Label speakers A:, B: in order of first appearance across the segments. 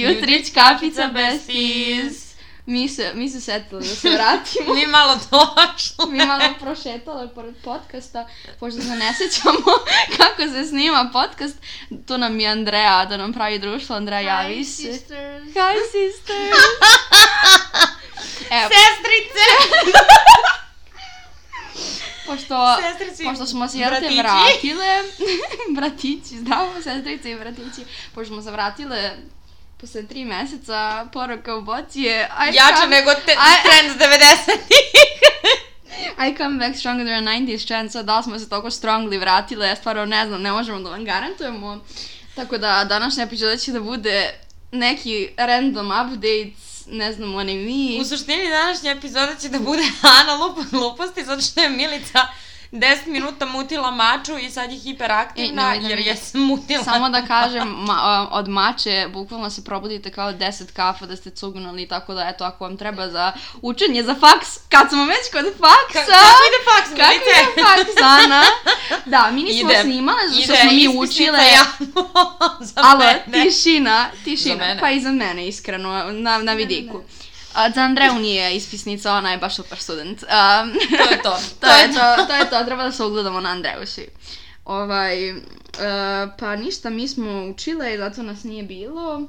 A: Jutrić kafica besties. Mi se, mi se setili da se vratimo.
B: Mi malo došlo.
A: Mi malo prošetale pored podcasta, pošto se ne sećamo kako se snima podcast. Tu nam je Andreja da nam pravi društvo. Andreja, javi se.
C: sisters.
A: Hi, sister. Evo,
B: Sestrice!
A: pošto,
B: Sestrici,
A: pošto smo se jel te
B: bratići.
A: vratile, bratići, zdravo, sestrice i bratići, pošto smo se vratile posle tri meseca, poruka u boci je I
B: Jače
A: come-
B: nego te,
A: Aj.
B: trend 90-ih.
A: I come back stronger than a 90s chance, da li smo se toliko strongly vratile, ja stvarno ne znam, ne možemo da vam garantujemo. Tako da današnja epizoda će da bude neki random updates, ne znam, one mi.
B: U suštini današnja epizoda će da bude Ana lupa gluposti, zato što je Milica 10 minuta mutila maču i sad je
A: E,
B: hiperaktivna
A: nemoj da
B: jer
A: mi-
B: je mutila.
A: Samo da kažem, ma, od mače bukvalno se probudite kao 10 kafa da ste cugnuli, tako da eto, ako vam treba za učenje za faks, kad smo već kod
B: Ka-
A: faksa...
B: kako ide faks,
A: Kako je
B: Milice?
A: faks, Ana? Da, mi nismo
B: Ide.
A: snimale, zato što
B: Ide
A: smo mi
B: ispisnica
A: učile...
B: javno za
A: Alo,
B: mene.
A: tišina, tišina.
B: Za mene.
A: Pa i za mene, iskreno, na, na vidiku.
C: mene.
A: A, za Andreju nije ispisnica, ona je baš super student. Um,
B: To je to.
A: to je to, to je to, treba da se ugledamo na Andreju svi. Ovaj, e, pa ništa, mi smo učile i zato nas nije bilo.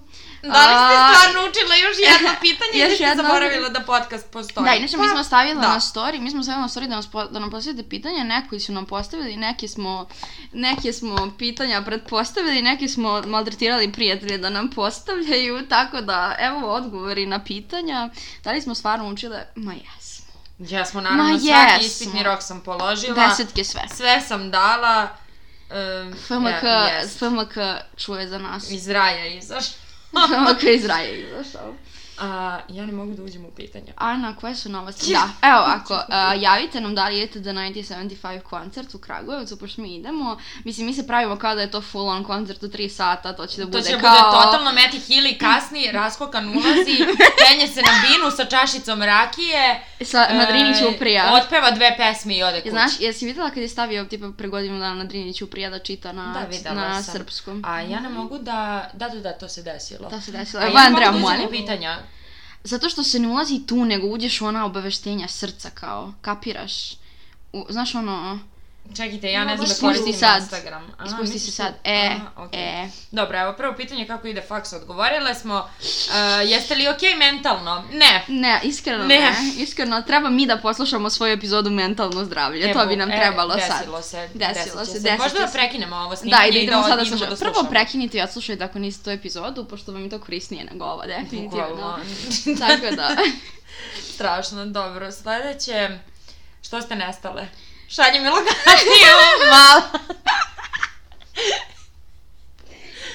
B: Da li ste
A: A,
B: stvarno učila još jedno pitanje
A: Još
B: ili ste
A: jedno?
B: zaboravila da podcast postoji? Pa,
A: Da, inače mi smo stavile
B: da.
A: na story, mi smo stavile na story da, nas po, da nam postavite pitanja, neki su nam postavili, neke smo, neke smo pitanja pretpostavili, neke smo maltretirali prijatelje da nam postavljaju, tako da evo odgovori na pitanja. Da li smo stvarno učile? Ma jesmo.
B: Ja smo naravno
A: Ma
B: svaki
A: jesmo.
B: ispitni rok sam položila.
A: Desetke sve.
B: Sve sam dala. Um,
A: FMK,
B: ja, yes.
A: FMK čuje za nas.
B: Iz raja izaš.
A: FMK iz raja je izašao.
B: A, ja ne mogu da uđem u pitanja.
A: Ana, koje su novosti? Da, evo ako, uh, javite nam da li idete da 1975 koncert u Kragujevcu, pošto mi idemo. Mislim, mi se pravimo kao da je to full on koncert od 3 sata, to će da bude
B: to će
A: kao...
B: bude totalno Meti Hili kasni, raskokan ulazi, penje se na binu sa čašicom rakije.
A: Sa Nadrini
B: e,
A: Ćuprija.
B: Otpeva dve pesme i ode kući.
A: Znaš, jesi vidjela kad je stavio tipa pre godinu dana Nadrini Ćuprija da čita na,
B: Da, videla
A: na
B: sam.
A: srpskom?
B: A ja ne mogu da... Da, da, da, to se desilo.
A: To se
B: A
A: desilo.
B: ja
A: Evo,
B: ne
A: Andrea,
B: mogu da uđem u
A: molim.
B: pitanja.
A: Zato što se ne ulazi tu, nego uđeš u ona obaveštenja srca, kao, kapiraš? U, znaš ono,
B: Čekajte, ja ne znam da
A: Ispusti
B: koristim
A: sad.
B: Instagram. A,
A: ispusti se
B: misliš
A: sad,
B: da-
A: e,
B: A, okej.
A: e.
B: Dobro, evo prvo pitanje kako ide faks. Odgovorile smo, uh, jeste li okej mentalno? Ne.
A: Ne, iskreno
B: Ne.
A: ne. Iskreno, treba mi da poslušamo svoju epizodu mentalno zdravlje.
B: Evo,
A: to bi nam
B: e,
A: trebalo sad.
B: desilo Se,
A: Desilo
B: desit će
A: se, desit
B: Možda
A: će
B: da
A: se.
B: prekinemo ovo snimanje
A: Da, i da idemo sada da
B: idemo
A: slušamo. Prvo prekinite i odslušajte ako niste tu epizodu, pošto vam je to korisnije nego ovo, definitivno.
B: Bukvalno.
A: Tako da,
B: Strašno, dobro. Sledeće, što ste nestale? Šalje mi lokaciju, malo.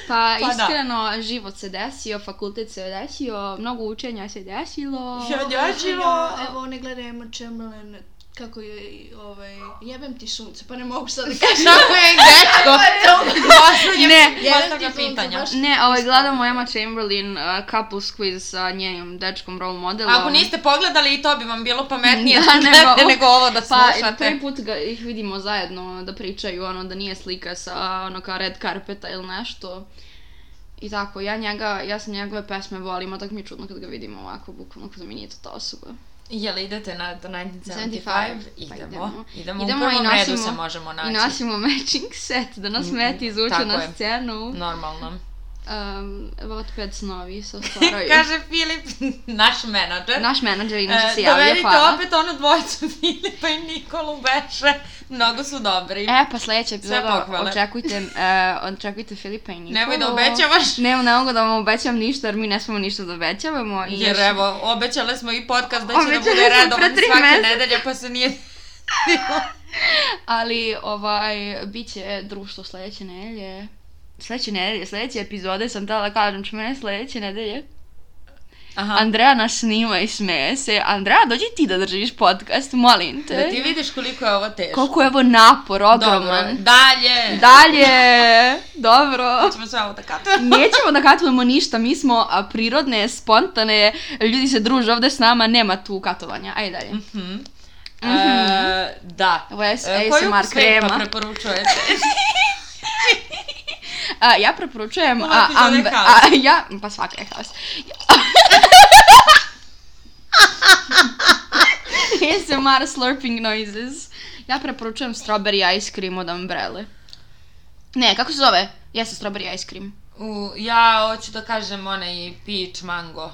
A: pa,
B: Pa da.
A: iskreno, život se desio, fakultet se desio, mnogo učenja se desilo.
B: Ja, ja. Odjačilo.
C: Evo, ne gledaj Emma Chamberlain kako je, ovaj, jebem ti sunce, pa ne mogu sad da kažem.
B: Kako je grečko? Poslednje
A: Ne,
B: postavljam
C: ti sunce,
B: pitanja.
C: baš
A: Ne, ovaj, gledamo Emma Chamberlain uh, couples quiz sa njenim dečkom role modelom.
B: Ako niste pogledali i to bi vam bilo pametnije
A: Da,
B: da, nego,
A: nego-
B: nego ovo da
A: Pa,
B: slušate.
A: prvi put ga, ih vidimo zajedno da pričaju, ono, da nije slika sa, ono, kao red karpeta ili nešto. I tako, ja njega, ja sam njegove pesme volim, a tako mi je čudno kad ga vidimo ovako, bukvalno, kada mi nije to ta osoba.
B: Jel idete na The 1975?
A: 75? Pa
B: idemo.
A: idemo.
B: Idemo,
A: Idemo
B: u
A: i
B: prvom redu
A: nosimo-
B: se možemo naći.
A: I nosimo matching set, da nas
B: Mm,
A: Meti izvuče
B: tako
A: na
B: je.
A: scenu.
B: Normalno.
A: Um, Wattpad snovi se ostvaraju.
B: Kaže Filip, naš menadžer.
A: Naš menadžer inače
B: E,
A: se javio,
B: dovedite
A: hvala.
B: opet onu dvojicu Filipa i Nikolu Beše. Mnogo su dobri.
A: E, pa sledeća epizoda,
B: pohvale.
A: očekujte, uh, očekujte Filipa i Nikolu.
B: Nemoj da obećavaš.
A: Ne, ne mogu da vam obećam ništa jer mi ne smemo ništa da obećavamo. I
B: Jer
A: još-
B: evo, obećale smo i podcast da će da
A: Obećale
B: bude
A: smo
B: redovan
A: pre tri
B: svake
A: meseca.
B: nedelje, pa se nije...
A: Ali, ovaj, bit će društvo sledeće nedelje. Sledeće nedelje, sledeće epizode sam tela da kažem ću mene sledeće nedelje.
B: Aha.
A: Andreja nas snima i smeje se. Andreja, dođi ti da držiš podcast, molim te.
B: Da ti vidiš koliko je ovo teško.
A: Koliko je ovo napor,
B: Dobro,
A: ogroman.
B: dalje.
A: Dalje, dobro.
B: Ćemo sve ovo da katujemo.
A: Nećemo da katujemo ništa, mi smo a, prirodne, spontane, ljudi se druže ovde s nama, nema tu katovanja. Ajde dalje.
B: Mhm.
A: Mhm.
B: E, da.
A: Ovo je
B: E,
A: ASMR
B: Koju
A: krema.
B: krema preporučujete?
A: A, ja preporučujem...
B: Ova
A: A,
B: epizoda je
A: Amber-
B: haos.
A: a, ja, pa svaka je haos. ASMR slurping noises. Ja preporučujem strawberry ice cream od Umbrelle. Ne, kako se zove? Jeste strawberry ice cream.
B: U, ja hoću da kažem onaj peach mango.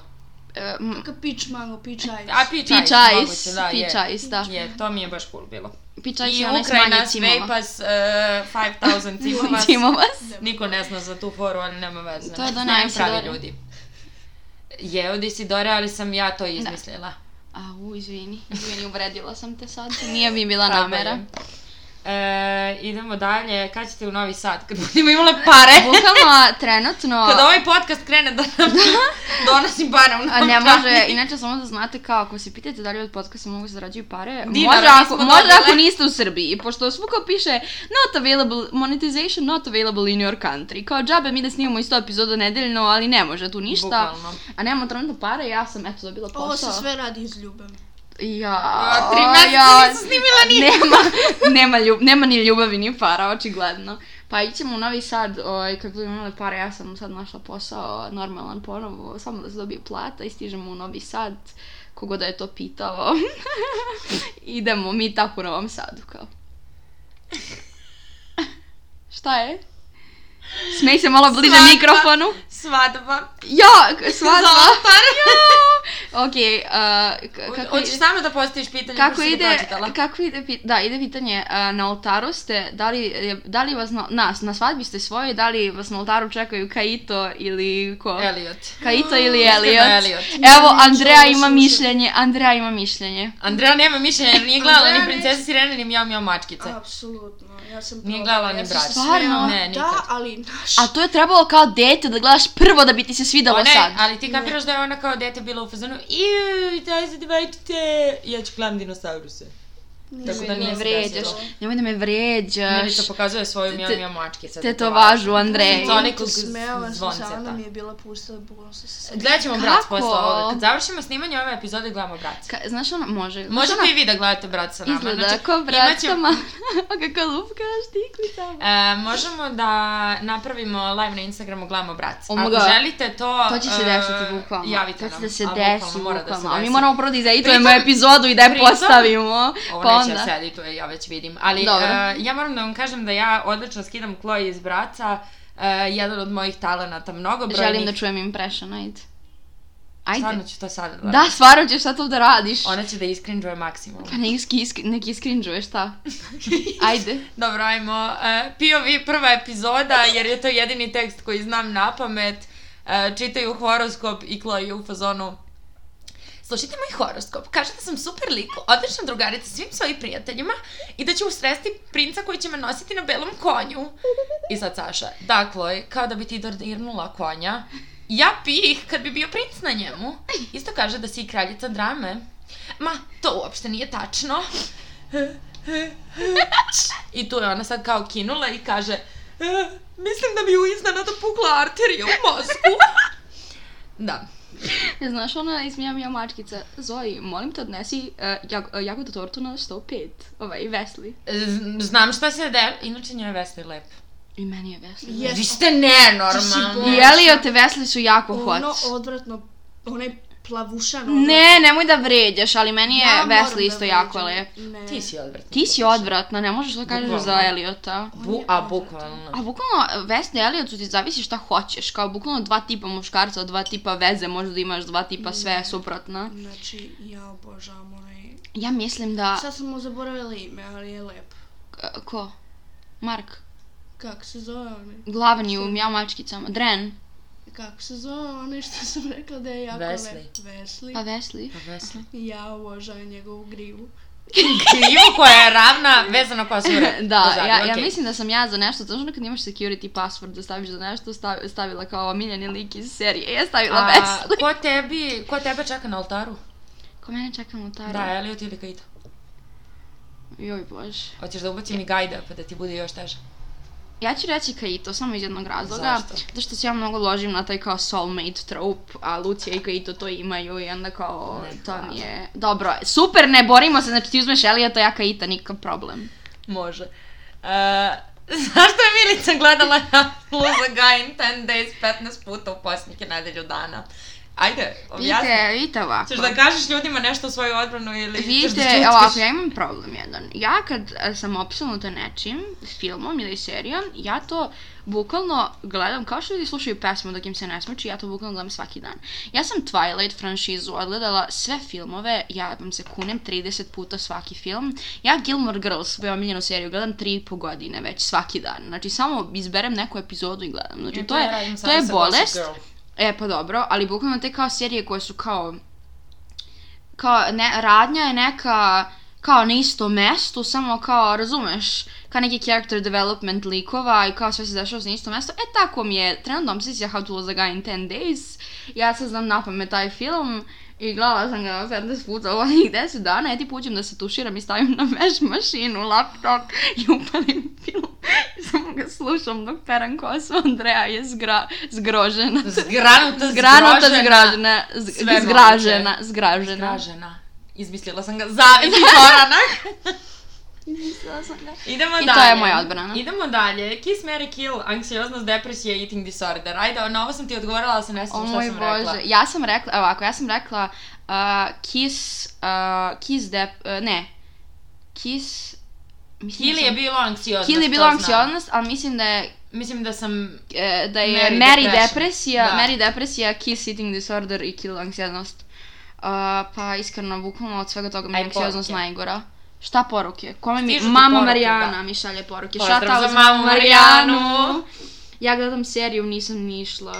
A: E, m,
C: Ka pič malo, pič ajde.
B: A peach,
A: Peach
B: ice,
A: ice,
B: moguće, da, je.
A: peach ice, da.
B: Je, to mi je baš cool bilo.
A: Peach ice
B: I
A: je onaj s manje
B: Ukrajina
A: cimova.
B: Svejpas, uh, 5000 cimova.
A: Cimova.
B: Niko ne zna za tu foru, ali nema veze.
A: To je do
B: Znaju
A: Isidore.
B: pravi ljudi. Je od Isidore, ali sam ja to izmislila.
A: Au, izvini. Izvini, uvredila sam te sad. Nije mi bila
B: Prava
A: namera.
B: je. E, idemo dalje, kad ćete u Novi Sad? Kad budemo imale pare.
A: Bukvalno trenutno...
B: Kad ovaj podcast krene da nam donosi para u
A: A
B: Novi
A: ne
B: Sad.
A: može, inače samo da znate kao, ako se pitate da li od podcasta mogu zarađuju pare,
B: Dinara
A: može,
B: nismo
A: ako, može
B: dobile.
A: ako niste u Srbiji, pošto svuko piše not available, monetization not available in your country. Kao džabe mi da snimamo isto epizodu nedeljno, ali ne može tu ništa.
B: Bukvalno.
A: A nemamo trenutno pare, ja sam eto dobila posao.
C: Ovo se sve radi iz ljubavi.
A: Ja,
B: A, tri meseca nisam snimila ništa.
A: Nema, nema, ljub, nema ni ljubavi, ni para, očigledno. Pa ićemo u Novi Sad, oj, kako budemo imali para, ja sam sad našla posao, normalan ponovo, samo da se dobije plata i stižemo u Novi Sad, kogo da je to pitao. Idemo mi tako u Novom Sadu, kao. Šta je? Smej se malo bliže
B: Svadba.
A: mikrofonu.
B: Svadba.
A: Ja, k- svadba.
B: Zoltar.
A: Ok, uh, k- kako
B: Hoćeš sama da postaviš pitanje?
A: kako
B: pošto si
A: ide,
B: pročitala?
A: kako ide, pi- da, ide pitanje, a, na oltaru ste, da li, je- da li vas, na, na, na svadbi ste svoji, da li vas na oltaru čekaju Kaito ili ko?
B: Elliot.
A: Kaito ili
B: Iskreno
A: Elliot.
B: Elliot.
A: Evo,
C: Ne,
A: Andreja
C: neću
A: ima
C: ovo
A: mišljenje, Andreja ima mišljenje.
B: Andrea nema mišljenja jer nije gledala
C: Andrea
B: ni
C: neće-
B: princesa Sirene ni mjau mjau mačkice.
C: Apsolutno, ja sam
B: Nije gledala
C: probala,
B: ni
C: ja sam
B: Brat.
C: se
A: Stvarno?
C: smejala.
B: Ne, nikad.
C: Da, ali naš...
A: A to je trebalo kao dete da gledaš prvo da bi ti se svidalo
B: O ne,
A: sad.
B: ali ti kapiraš da je ona kao dete bila u fazonu Iuuu, daj se devajčite, ja ću gledam dinosauruse. Tako da
A: Nemoj da
B: nije
A: me
B: se
A: vređaš,
B: desilo.
A: nemoj da me
B: Milica
A: vređaš.
B: pokazuje svoju mjau
A: Te-
B: mjau mačkice.
A: Te to važu, Andrej.
B: Za onih kog
C: smela sam se,
B: zvonceta.
C: ona mi je bila pustila, bukvalno sam se sad...
B: Gledat ćemo brat
A: Kako?
B: posle ovoga. Kad završimo snimanje ove epizode, gledamo brat.
A: Ka, znaš ono, može. znaš
B: Možete
A: ono,
B: i vi da gledate brat sa nama.
A: Izgleda
B: Znači,
A: ko
B: imat
A: brat
B: ćemo-
A: sa ma... Kako lupka štiklica.
B: E, možemo da napravimo live na Instagramu Glamo brat.
A: Oh my
B: Ako
A: God.
B: želite to...
A: To će se
B: e,
A: desiti bukvalno.
B: Javite
A: to će
B: nam.
A: da se
B: ali
A: desi
B: mora da se
A: bukvalno. A mi
B: desi.
A: moramo prvo da izeditujemo
B: Pritom-
A: epizodu i da je
B: pritom-
A: postavimo.
B: Ovo
A: pa
B: neće da
A: onda...
B: se edituje, ja već vidim. Ali
A: Dobro.
B: e, ja moram da vam kažem da ja odlično skidam Chloe iz braca. e, jedan od mojih talenata, mnogo brojnih.
A: Želim da čujem impression, ajde. Ajde.
B: Stvarno ću to sad da
A: Da, stvarno ćeš sad to da radiš.
B: Ona će da iskrinđuje maksimum.
A: Pa nek, iski, isk, nek iskrinđuješ, šta? Ajde.
B: Dobro, ajmo. E, POV prva epizoda, jer je to jedini tekst koji znam na pamet. E, čitaju horoskop i Chloe je u fazonu. Slušajte moj horoskop. Kaže da sam super lik, odlična drugarica svim svojim prijateljima i da ću usresti princa koji će me nositi na belom konju. I sad Saša, da Chloe, kao da bi ti dodirnula konja. Ja pih kad bi bio princ na njemu. Isto kaže da si i kraljica drame. Ma, to uopšte nije tačno. I tu je ona sad kao kinula i kaže "E, Mislim da mi je iznenada pukla arterija u mozgu. Da.
A: Znaš ona iz Mija Mija Mačkica, Zoji, molim te odnesi uh, jag, uh, jagodu tortu na 105, ovaj, Vesli.
B: Z- Znam šta se de... Inače njoj je Vesli lep.
A: I meni je Vesli.
C: Jeste.
B: Vi ste nenormalni.
C: Ti
A: I
C: si
A: Elliot i Vesli su jako hot.
C: Ono odvratno, onaj plavušan... ono-
A: Ne, nemoj da vređaš, ali meni je
C: Ja moram
A: Vesli
C: da
A: isto
C: vređam.
A: jako lep.
C: Ne.
B: Ti si odvratna.
A: Ti si odvratna, ne možeš da kažeš
B: Bukvalno.
A: za Eliota.
B: Bu, a bukvalno.
A: A bukvalno, Vesna i Eliot su ti zavisi šta hoćeš. Kao bukvalno dva tipa muškarca, dva tipa veze, možda da imaš dva tipa sve suprotna.
C: Znači, ja obožavam onaj...
A: Ja mislim da...
C: Sad sam mu zaboravila ime, ali je lep.
A: K- Ko? Mark.
C: Kako se zove onaj?
A: Glavni u Mjau mačkicama. Dren.
C: Kako se zove onaj što sam rekla da je jako
B: Wesley.
C: lep? Wesley.
A: Pa Vesli.
B: Pa Vesli.
C: Ja obožavam njegovu grivu.
B: Krivo koja je ravna, vezana koja su re-
A: Da,
B: pozadi,
A: ja, ja
B: okej.
A: mislim da sam ja za nešto, znaš ono kad imaš security password da staviš za nešto, stavi- stavila kao omiljeni lik iz serije, ja stavila
B: A,
A: Vesli.
B: ko tebi, ko tebe čeka na altaru?
A: Ko mene čeka na oltaru?
B: Da, Elliot ili Kaito?
A: Joj bože.
B: Hoćeš da ubacim i gajda pa da ti bude još teže.
A: Ja ću reći Kaito samo iz jednog razloga.
B: Zašto?
A: Zato što se ja mnogo ložim na taj kao soulmate trope, a Lucija i Kaito to imaju i onda kao
B: Ne,
A: to
B: hvala.
A: mi je... Dobro, super, ne borimo se, znači ti uzmeš Eliota, ja Kaita, nikakav problem.
B: Može. E, Zašto je Milica gledala Luza Gain 10 days 15 puta u posljednjih nedelju dana? Ajde, objasni.
A: Vidite, vidite ovako.
B: Ćeš da kažeš ljudima nešto u svoju odbranu ili ćeš da
A: Vidite,
B: ćutkaš?
A: ovako, ja imam problem jedan. Ja kad e, sam opsunuta nečim, filmom ili serijom, ja to bukvalno gledam, kao što ljudi slušaju pesmu dok im se ne smuči, ja to bukvalno gledam svaki dan. Ja sam Twilight franšizu odgledala sve filmove, ja vam se kunem 30 puta svaki film. Ja Gilmore Girls, svoju omiljenu seriju, gledam 3,5 godine već svaki dan. Znači, samo izberem neku epizodu i gledam. Znači,
B: Ja
A: to je,
B: ne radim
A: to
B: samo
A: je
B: sa
A: bolest.
B: Gossip Girl.
A: E, pa dobro, ali bukvalno te kao serije koje su kao... Kao, ne, radnja je neka kao na istom mestu, samo kao, razumeš, kao neki character development likova i kao sve se dešava na istom mestu. E, tako mi je trenutno obsesija How to Lose a Guy in 10 Days. Ja sad znam na pamet taj film i gledala sam ga 15 puta u ovih 10 dana. Ja ti puđem da se tuširam i stavim na veš mašinu, laptop i upalim film. Samo ga slušam dok peram kosu. Andreja je zgra, zgrožena.
B: Zgranuta,
A: Zgranuta,
B: zgrožena.
A: zgražena, z-
B: Sve moguće.
A: zgražena, zgražena.
B: Zgražena. Izmislila sam ga. Zavisi Zorana. Idemo
A: I to
B: dalje.
A: je moja odbrana.
B: Idemo dalje. Kiss, Mary, Kill, anksioznost, depresija, eating disorder. Ajde, na ovo sam ti odgovorila, ali se ne
A: O
B: sjećam šta
A: moj
B: sam
A: bože,
B: rekla.
A: ja sam rekla, ovako, ja sam rekla uh, kiss, uh, kiss dep, uh, ne, kiss, mislim
B: Kill
A: da
B: je
A: sam-
B: bilo anksioznost.
A: Kill je
B: to
A: bilo
B: znam.
A: anksioznost, ali mislim da je,
B: Mislim da sam...
A: e, da je
B: Mary
A: Mary,
B: depression.
A: depresija,
B: Da.
A: Mary depresija, kiss eating disorder i kill anksioznost. Uh, pa iskreno, bukvalno od svega toga mi je
B: Aj,
A: anksioznost
B: poruke.
A: najgora. Šta poruke? Kome mi?
B: Stižu ti
A: Mama
B: poruke,
A: Marijana
B: da.
A: mi šalje poruke.
B: Pozdrav
A: Shout out
B: za
A: za
B: mamu
A: mamu
B: Marijanu.
A: Marijanu. Ja gledam seriju, nisam ni išla.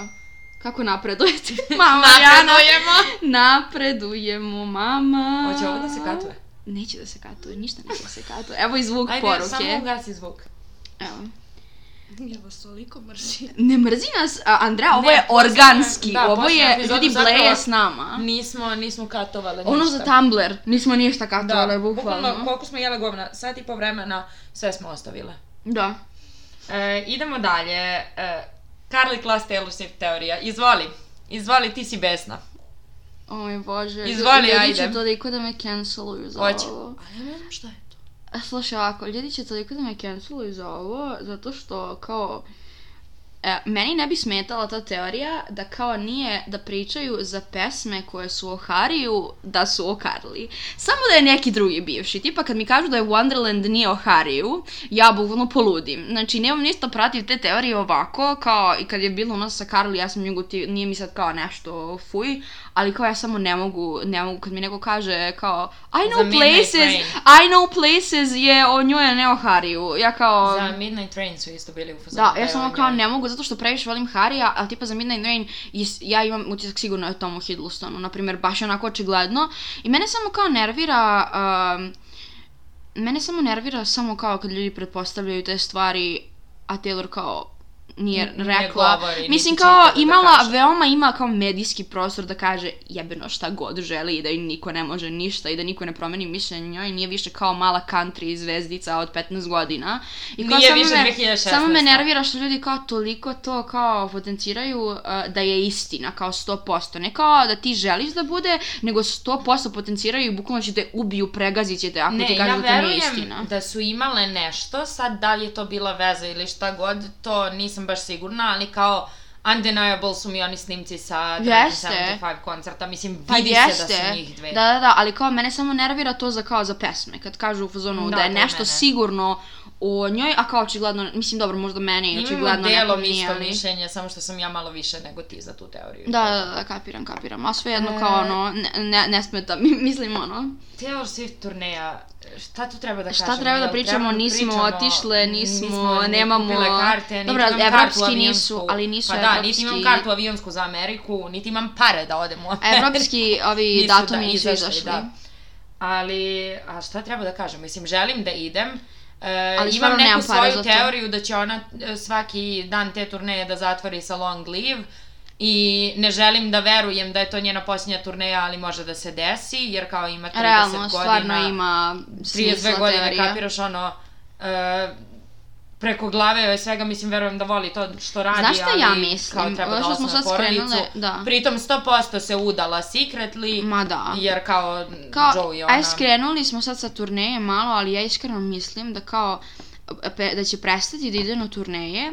A: Kako napredujete? Mama Marijana.
B: Napredujemo.
A: Napredujemo, mama.
B: Hoće ovo da se katuje?
A: Neće da se katuje, ništa neće da se katuje. Evo i zvuk
B: Ajde,
A: poruke.
B: samo ugasi zvuk.
A: Evo.
C: Ja vas toliko mrzim.
A: Ne mrzi nas, a, Andrea, ovo
B: Ne,
A: je
B: posle-
A: organski,
B: da,
A: ovo
B: posle
A: je,
B: epizodu
A: ljudi
B: zapravo-
A: bleje s nama.
B: Nismo, nismo katovale
A: Ono
B: ništa.
A: za Tumblr, nismo ništa
B: Da,
A: katovale, bukvalno.
B: koliko smo jele govna, sat i po vremena, sve smo ostavile.
A: Da.
B: E, idemo dalje. E, Carly Class Taylor Swift teorija. Izvoli. Izvoli, ti si besna.
A: O moj bože,
B: Izvoli,
A: ljudi
B: ajde.
A: će toliko da me canceluju za
B: Hoće.
A: ovo.
C: Ali ja ne znam šta je to.
A: A, Slušaj ovako, ljudi će toliko da me canceluju za ovo, zato što kao... E, meni ne bi smetala ta teorija da kao nije da pričaju za pesme koje su o Hariju da su o Karli. Samo da je neki drugi bivši. Tipa kad mi kažu da je Wonderland nije o Hariju, ja bukvalno poludim. Znači nemam ništa protiv te teorije ovako, kao i kad je bilo ono sa Karli, ja sam nju ti, nije mi sad kao nešto fuj, ali kao ja samo ne mogu, ne mogu kad mi neko kaže kao I
B: Za
A: know
B: Midnight
A: places,
B: Train.
A: I know places je o njoj, a ne o Hariju. Ja kao...
B: Za Midnight Train su isto bili u fazonu.
A: um, Da,
B: je
A: ja samo
B: on
A: kao
B: njoj.
A: ne mogu zato što previše volim Harija, ali tipa za Midnight Rain jes- ja imam utisak sigurno je o Tomu Hiddlestonu, na primjer, baš je onako očigledno. I mene samo kao nervira... Um, mene samo nervira samo kao kad ljudi pretpostavljaju te stvari, a Taylor kao nije
B: Ne
A: rekla.
B: govori,
A: Mislim
B: niti
A: kao
B: čita da
A: imala,
B: kaže.
A: veoma ima kao medijski prostor da kaže jebeno šta god želi i da joj niko ne može ništa i da niko ne promeni mišljenje njoj i nije više kao mala country zvezdica od 15 godina. I kao
B: Nije
A: samo
B: više
A: me-
B: 2016.
A: Samo me nervira što ljudi kao toliko to kao potenciraju eh, da je istina, kao 100%. Ne kao da ti želiš da bude, nego 100% potenciraju i bukvalno će te ubiju, pregazit će te ako
B: Ne,
A: ti
B: ja
A: kažu da to nije
B: verujem
A: istina.
B: da su imale nešto, sad da li je to bila veza ili šta god, to nisam baš sigurna, ali kao undeniable su mi oni snimci sa
A: Jeste.
B: 1975 koncerta, mislim
A: Pa
B: vidi se da
A: jeste,
B: su njih dve.
A: da, da, da, ali kao mene samo nervira to za kao za pesme, kad kažu u fazonu
B: Da,
A: da, je
B: to i
A: nešto
B: mene.
A: sigurno o njoj, a kao očigledno, mislim dobro, možda meni
B: Imamo
A: očigledno
B: Mm, delom
A: nekom nije,
B: isto
A: ali-
B: mišljenje, samo što sam ja malo više nego ti za tu teoriju.
A: Da, da, da, kapiram, kapiram, a svejedno
B: E.
A: kao ono, ne, ne, ne smeta, mi- mislim ono.
B: Taylor Swift turneja, šta tu treba da
A: Šta
B: kažemo?
A: treba da
B: Jel
A: pričamo? Nismo otišle, nismo,
B: ni
A: nemamo-
B: kupile karte, niti
A: Dobro,
B: imam
A: evropski
B: kartu
A: nisu,
B: avionsku.
A: ali nisu
B: pa da, niti
A: evropski.
B: imam kartu avionsku za Ameriku, niti imam pare da odem u Ameriku.
A: Evropski ovi
B: Nisu,
A: datumi
B: da,
A: nisu
B: izašli,
A: izašli.
B: da. Ali, a šta treba da kažem? Mislim, želim da idem. E,
A: Ali
B: imam
A: stvarno
B: neku
A: nemam para
B: svoju
A: za to.
B: teoriju da će ona e, svaki dan te turneje da zatvori sa long live i ne želim da verujem da je to njena posljednja turneja, ali može da se desi, jer kao ima 30
A: Realno,
B: godina.
A: stvarno ima
B: 32
A: smisla
B: godine,
A: teorija.
B: kapiraš ono, e, preko glave joj svega, mislim, verujem da voli to što radi,
A: Znaš šta
B: ali
A: ja mislim?
B: kao treba
A: Ovo
B: da
A: što smo
B: osnuje
A: sad
B: porodicu.
A: skrenule, da.
B: Pritom 100% se udala secretly,
A: Ma da.
B: jer kao,
A: Kao,
B: Joey ona...
A: aj skrenuli smo sad sa turneje malo, ali ja iskreno mislim da kao uh, pe- da će prestati da ide na turneje,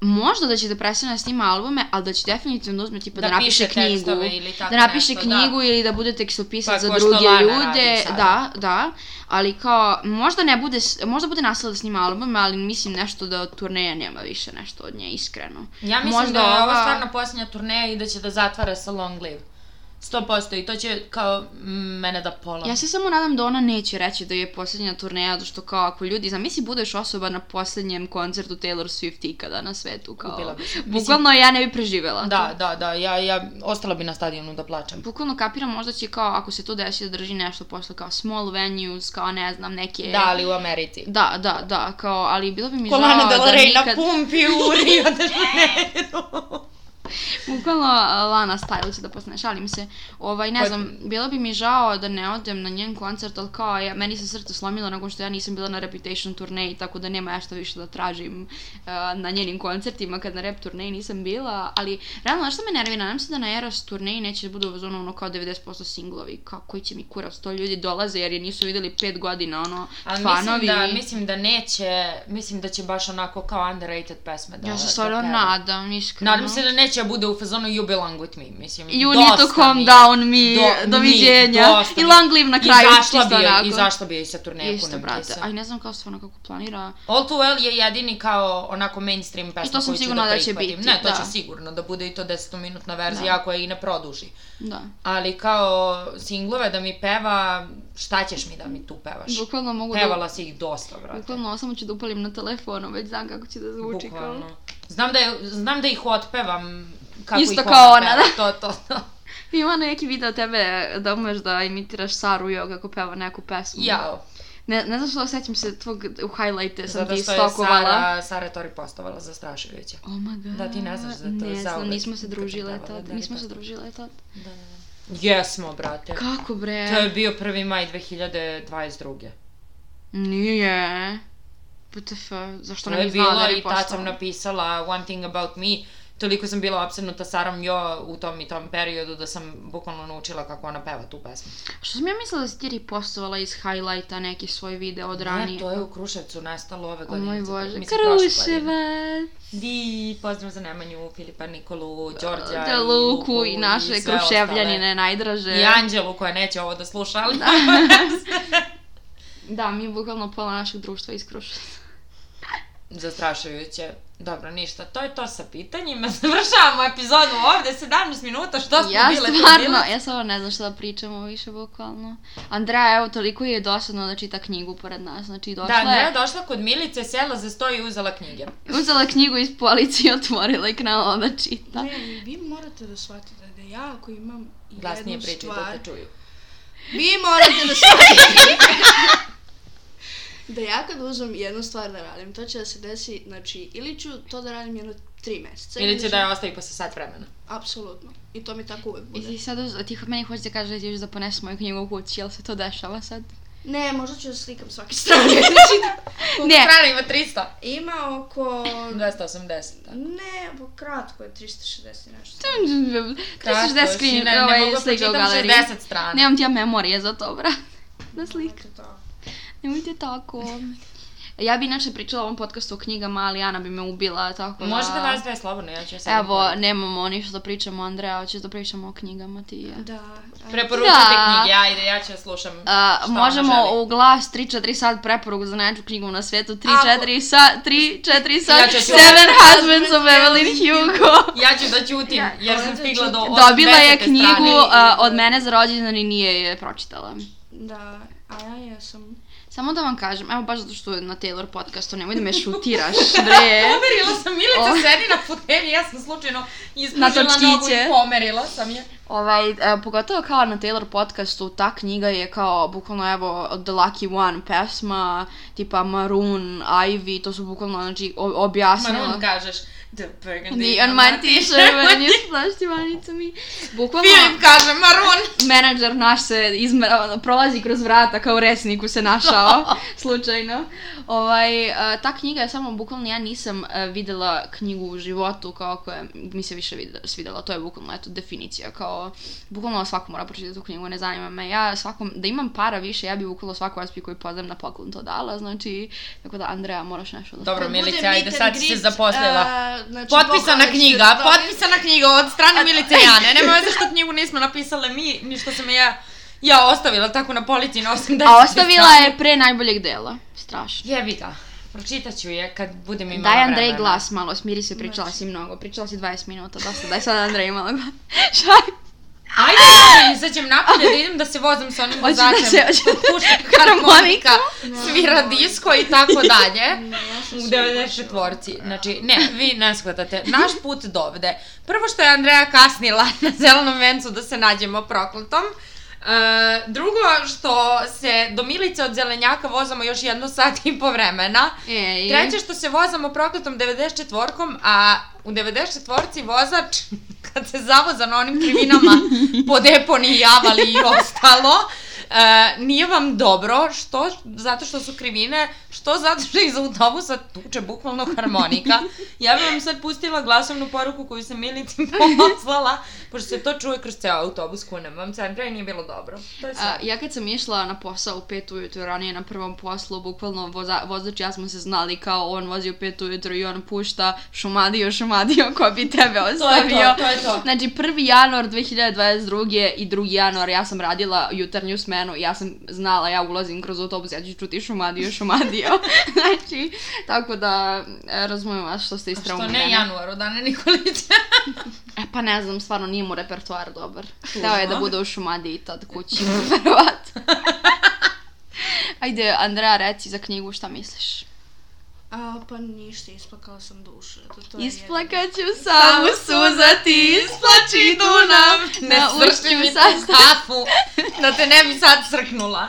A: možda da će da prestane da snima albume, ali da će definitivno da uzme tipa da,
B: Da
A: napiše
B: piše tekstove
A: knjigu,
B: ili tako
A: da napiše
B: nešto, da.
A: knjigu ili da bude tekstopisac
B: Pa,
A: za
B: ko što
A: druge
B: Lana
A: ljude,
B: radi sada.
A: da, da, ali kao možda ne bude, s- možda bude nastavila da snima albume, ali mislim nešto da od turneja nema više nešto od nje, iskreno.
B: Ja mislim
A: Možda
B: da je ovo
A: ova-
B: stvarno posljednja turneja i da će da zatvara sa Long Live. 100% i to će kao mm, mene da pola.
A: Ja se samo nadam da ona neće reći da je posljednja turneja, zato što kao ako ljudi, zamisli budeš osoba na posljednjem koncertu Taylor Swift ikada na svetu, kao,
B: Ubila bi se.
A: bukvalno ja ne bi preživjela.
B: Da, da, da, ja, ja ostala bi na stadionu da plačem.
A: Bukvalno kapiram, možda će kao, ako se to desi, da drži nešto posle kao small venues, kao ne znam, neke...
B: Da, ali u Americi.
A: Da, da, da, kao, ali bilo bi mi
B: Kolana
A: žao
B: Del
A: da
B: Rey na
A: nikad...
B: pumpi u Rio de Janeiro.
A: Bukvalno e, Lana Styles da postane, šalim se. Ovaj, ne
B: Pa-
A: znam, bilo bi mi žao da ne odem na njen koncert, ali kao, ja, meni se srce slomilo nakon što ja nisam bila na Reputation turneji, tako da nema ja što više da tražim eh, na njenim koncertima kad na rep turneji nisam bila, ali realno, znaš što me nervira? Nadam se da na Eras turneji neće da bude u zonu ono kao 90% singlovi, kao koji će mi kurac, to ljudi dolaze jer je nisu videli 5 godina, ono,
B: Ali
A: fanovi.
B: mislim da, mislim da neće, mislim da će baš onako kao underrated pesme da
A: ja se
B: da
A: stvarno
B: peva.
A: nadam, iskreno.
B: Nadam se da neće bude u fazonu You belong with me, mislim.
A: You
B: dosta
A: need to
B: mi
A: calm
B: je.
A: down me,
B: Do-
A: doviđenja.
B: mi, dosta
A: I
B: mi.
A: long live na kraju,
B: izašla
A: čisto
B: bi, joj-
A: onako.
B: Izašla bi joj sa turneja
A: Isto,
B: punom
A: brate.
B: kesa.
A: Aj, ne znam kao stvarno kako planira.
B: All Too Well je jedini kao onako mainstream pesma
A: I to sam
B: koju ću
A: sigurna
B: da,
A: da će
B: prihvatim.
A: biti,
B: Ne, to
A: da.
B: će sigurno da bude i to 10-minutna verzija
A: Da.
B: koja i ne produži.
A: Da.
B: Ali kao singlove da mi peva, šta ćeš mi da mi tu pevaš?
A: Bukvalno mogu da...
B: Pevala si ih dosta, brate.
A: Bukvalno, samo ću da upalim na telefonu, već znam kako će da zvuči
B: Bukvalno.
A: kao...
B: Znam da, je, znam da ih otpevam kako
A: Isto
B: ih
A: kao ona,
B: peva. To, to, to.
A: Ima neki video tebe da umeš da imitiraš Saru Jo kako peva neku pesmu.
B: Jao.
A: Ne, ne znam što osjećam se tvog u highlighte sam
B: Zato
A: ti
B: što je
A: stokovala.
B: Sara, Sara Tori postovala zastrašujuće.
A: Oh my god.
B: Da, ti ne znaš za to,
A: Ne znam,
B: zauvek
A: nismo se
B: kad je
A: družile
B: pevala,
A: tad.
B: da,
A: nismo
B: da,
A: se
B: da.
A: družile tad.
B: Da, da, da. Jesmo, brate.
A: Kako bre?
B: To je bio 1. maj 2022.
A: Nije. PTF, zašto
B: To
A: ne
B: je
A: bi znala
B: bilo
A: da je
B: i tad sam
A: postala?
B: napisala One Thing About Me. Toliko sam bila opsednuta Sarom Jo u tom i tom periodu da sam bukvalno naučila kako ona peva tu pesmu.
A: Što sam ja mislila da si ti ripostovala iz highlighta neki svoj video od ranije?
B: Ne, to je u Kruševcu nastalo ove
A: O
B: godine.
A: moj
B: zato-
A: bože,
B: mislim, prošle godine.
A: Kruševac!
B: Di, pozdrav za Nemanju, Filipa, Nikolu, Đorđa
A: Da, Luku i naše
B: sve
A: kruševljanine najdraže.
B: ostale. I Anđelu koja neće ovo da sluša, ali...
A: Da, mi je bukvalno pola našeg društva iz Kruševca.
B: Zastrašujuće. Dobro, ništa, to je to sa pitanjima. Završavamo epizodu ovde, 17 minuta, što smo
A: Ja
B: bile tu
A: stvarno,
B: bile?
A: ja stvarno ne znam šta da pričamo više bukvalno. Andreja, evo, toliko je dosadno da čita knjigu pored nas, znači došla
B: Da, Andrea je
A: je...
B: došla kod Milice, sela za sto i uzela knjige.
A: Uzela knjigu iz police i otvorila i krenula da čita.
C: Ne, vi morate da shvatite da ja ako imam i
B: Glasnije
C: jednu
B: pričaju da
C: stvar,
B: te čuju.
C: vi morate da shvatite da ja kad uzmem jednu stvar da radim, to će da se desi, znači, ili ću to da radim jedno tri meseca.
B: Ili će da je ostavi posle sat vremena.
C: Apsolutno. I to mi tako uvek
A: I
C: bude.
A: ti sad, uz- ti meni hoćeš da kažeš da ćeš da poneseš moju knjigu u kući, jel se to dešava sad?
C: Ne, možda ću da slikam svake strane. Znači,
A: Ne.
B: Strana ima 300.
C: ima oko...
B: 280. da.
C: Ne, oko kratko je 360 i nešto.
A: 360 screen,
B: šina, ne mogu
A: ovaj, slika
B: da
A: u
B: pročitam
A: galeriji.
B: 60 strana.
A: Nemam ti ja memorije za to, brat. Da slik.
C: Nemojte to.
A: Nemojte tako. Ja bi inače pričala o ovom podcastu o knjigama, ali Ana bi me ubila, tako da...
B: Možete vas dve slobodno, ja ću ja sad...
A: Evo, nemamo ništa da pričamo, Andreja, hoćeš da pričamo o knjigama ti i ja.
C: Da. a-
B: Preporučite
A: Da.
B: knjige, ajde, ja ću ja slušam
A: A,
B: šta
A: možemo
B: ona želi.
A: u glas 3-4 sat preporuku za najjaču knjigu na svijetu, 3-4
C: Ako-
A: sat, 3-4 sat,
B: Ja ću-
A: Seven Husbands of Evelyn Hugo.
B: Ja ću da ćutim, jer
C: Ja
B: sam
C: ću
B: stigla do
C: ćutim.
B: 80.
A: Dobila je knjigu
B: strane.
A: a, od mene za rođendan i nije je pročitala.
C: Da, a ja jesam.
A: Samo da vam kažem, evo baš zato što je na Taylor podcastu, nemoj da me šutiraš, bre.
B: Pomerila sam, Milica
A: E? O.
B: sedi na fotelji, ja sam slučajno
A: Na
B: ispružila
A: točkiće.
B: nogu i pomerila sam je.
A: Ovaj, e, pogotovo kao na Taylor podcastu, ta knjiga je kao, bukvalno, evo, The Lucky One pesma, tipa Maroon, Ivy, to su bukvalno, znači, o- objasnila.
B: Maroon kažeš. The burgundy
A: The on my t-shirt when you splashed your money to me. Bukvalno,
B: Bio im kaže marun.
A: Znači, menadžer naš se izme, ono, prolazi kroz vrata kao u resniku se našao, slučajno. Ovaj, a, ta knjiga je samo bukvalno, ja nisam a, videla knjigu u životu kao koja mi se više videla, svidela, to je bukvalno eto, definicija, kao bukvalno svako mora pročitati tu knjigu, ne zanima me. Ja svakom, da imam para više, ja bi bukvalno svaku raspi koju poznam na poklon to dala, znači, tako da Andreja moraš nešto da...
B: Dobro,
C: Kad bude
B: Pa Milica,
C: meet
B: ajde,
C: and
B: sad si se
C: greet,
B: zaposlila.
C: a, znači,
B: Potpisana
C: pohvale ćete
B: knjiga,
C: dobiti.
B: potpisana knjiga od
A: E,
B: strane Milice Jane. Nema veze što knjigu nismo napisale mi, ni što sam je ja, ja ostavila tako na polici na 80.
A: A ostavila je pre najboljeg dela, strašno.
B: Jebi ga, pročitat ću je kad budem imala
A: Daj
B: vremena.
A: Andrej glas malo, smiri se, pričala si mnogo, pričala si 20 minuta, dosta, daj sad Andrej malo glas. Šaj,
B: Ajde, ja da izađem napolje da idem da se vozim sa onim
A: Hoće da
B: vozačem.
A: se- hoće da-
B: Puška harmonika, svira disko i tako dalje.
C: Ne, ja sam
B: U
C: se
B: 94. Znači, ne, vi ne shvatate. Naš put do ovde. Prvo što je Andreja kasnila na zelenom vencu da se nađemo prokletom. E, drugo što se do Milice od zelenjaka vozamo još jedno sat i po vremena.
A: Ej.
B: Treće što se vozamo prokletom 94-kom, a u 94-ci vozač kad se zavoza na onim krivinama po deponi, javali i ostalo, e, nije vam dobro, što zato što su krivine, što zato što iz autobusa tuče bukvalno harmonika. Ja bih vam sad pustila glasovnu poruku koju sam Milici poslala, pošto se to čuje kroz ceo autobus, kunem vam centra i nije bilo dobro. To je sve.
A: A, ja kad sam išla na posao u pet ujutru ranije na prvom poslu, bukvalno voza, vozač i ja smo se znali kao on vozi u pet ujutru i on pušta šumadio, šumadio ko bi tebe
B: to je
A: ostavio.
B: to, to je to.
A: Znači, 1. januar 2022. i 2. januar ja sam radila jutarnju smenu i ja sam znala, ja ulazim kroz autobus, ja ću čuti šumadio, šumadio. znači, tako da e, razumijem vas što ste
B: Što
A: istraumljeni.
B: ne januar, od Ane Nikolića.
A: E pa ne znam, stvarno nije mu repertoar dobar. Hteo je da
B: Tužno.
A: bude u šumadi i tad kući, verovatno. Ajde, Andrea, reci za knjigu šta misliš.
C: A, pa ništa, isplakala sam dušu. eto, to je
A: Isplakaću samo suza ti isplači Dunav
B: Ne svrši mi tu
A: sastav-
B: kafu, da te ne bi sad srknula.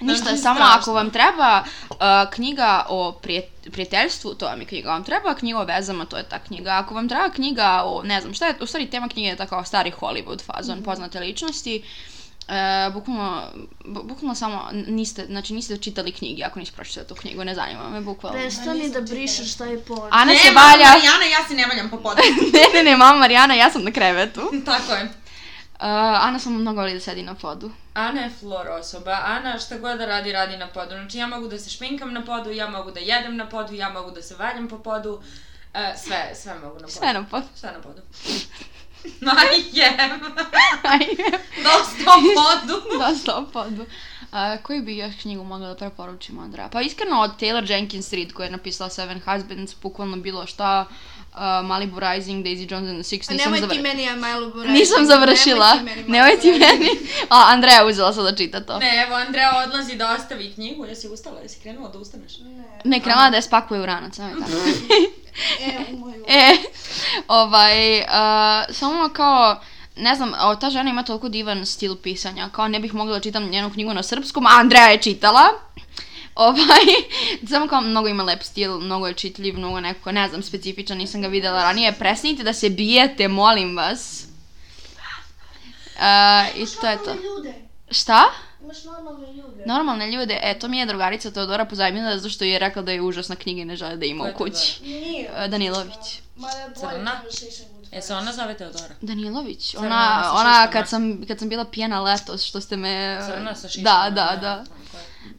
A: Ništa,
B: Znači,
A: samo
B: strašno.
A: ako vam treba uh, knjiga o prijet- prijateljstvu, to vam je knjiga. Vam treba knjiga o vezama, to je ta knjiga. Ako vam treba knjiga o, ne znam, šta je, u stvari tema knjige je ta kao stari Hollywood fazon, poznate ličnosti. E, bukvalno, bu- bukvalno samo n- niste, znači niste čitali knjige ako niste pročitali tu knjigu, ne zanima me bukvalno.
C: Prestani da brišeš taj porno.
A: Ana se
B: mama
A: valja,
B: Marijana, ja se ne valjam po podu.
A: ne, ne, ne, mama Marijana, ja sam na krevetu. Uh,
B: Tako je.
A: Ana samo mnogo voli da sedi na podu.
B: Ana je flor osoba. Ana šta god da radi, radi na podu. Znači ja mogu da se šminkam na podu, ja mogu da jedem na podu, ja mogu da se valjam po podu. E, sve, sve mogu na podu.
A: Sve na podu.
B: Sve na podu. Majem,
A: Ajde.
B: dosta o podu.
A: Dosta o podu. A, koju bi još knjigu mogla da preporučim, Andra? Pa iskreno od Taylor Jenkins Reid koja je napisala Seven Husbands, bukvalno bilo šta, a, Malibu Rising, Daisy Jones and the Six,
C: A
A: nisam
C: nemoj ti
A: završila.
C: meni, ja malo boravim.
A: Nisam završila. Nemoj ti meni. A, Andreja je uzela sad da čita to. Ne,
B: Ne, evo, Andrea odlazi da ostavi knjigu. Jesi ustala? Jesi krenula da ustaneš?
A: krenula je da je spakuje u ranac, nemoj tako.
C: E, u moju.
A: E, ovaj, a, samo kao, ne znam, o, ta žena ima toliko divan stil pisanja, kao ne bih mogla da čitam njenu knjigu na srpskom, a Andreja je čitala. Ovaj, samo kao mnogo ima lep stil, mnogo je čitljiv, mnogo je nekako, ne znam, specifičan, nisam ga videla ranije. Presnite da se bijete, molim vas. A, I to je to.
C: ljude.
A: Šta?
C: Imaš normalne ljude.
A: Normalne ljude, e, to mi je drugarica Teodora pozajmila zato što je rekla da je užasna knjiga i ne žele da ima u
B: Ko je
A: kući.
C: Nije.
A: A, E, Danilović.
C: Mada bolje
B: Crna?
C: conversation with
B: E, se ona zove Teodora?
A: Danilović,
B: Crna
A: ona,
B: sa
A: ona
B: šiškama.
A: kad sam, kad sam bila pijena letos, što ste me...
B: Crna sa
A: E, Da,
B: šiškama.
A: da, da.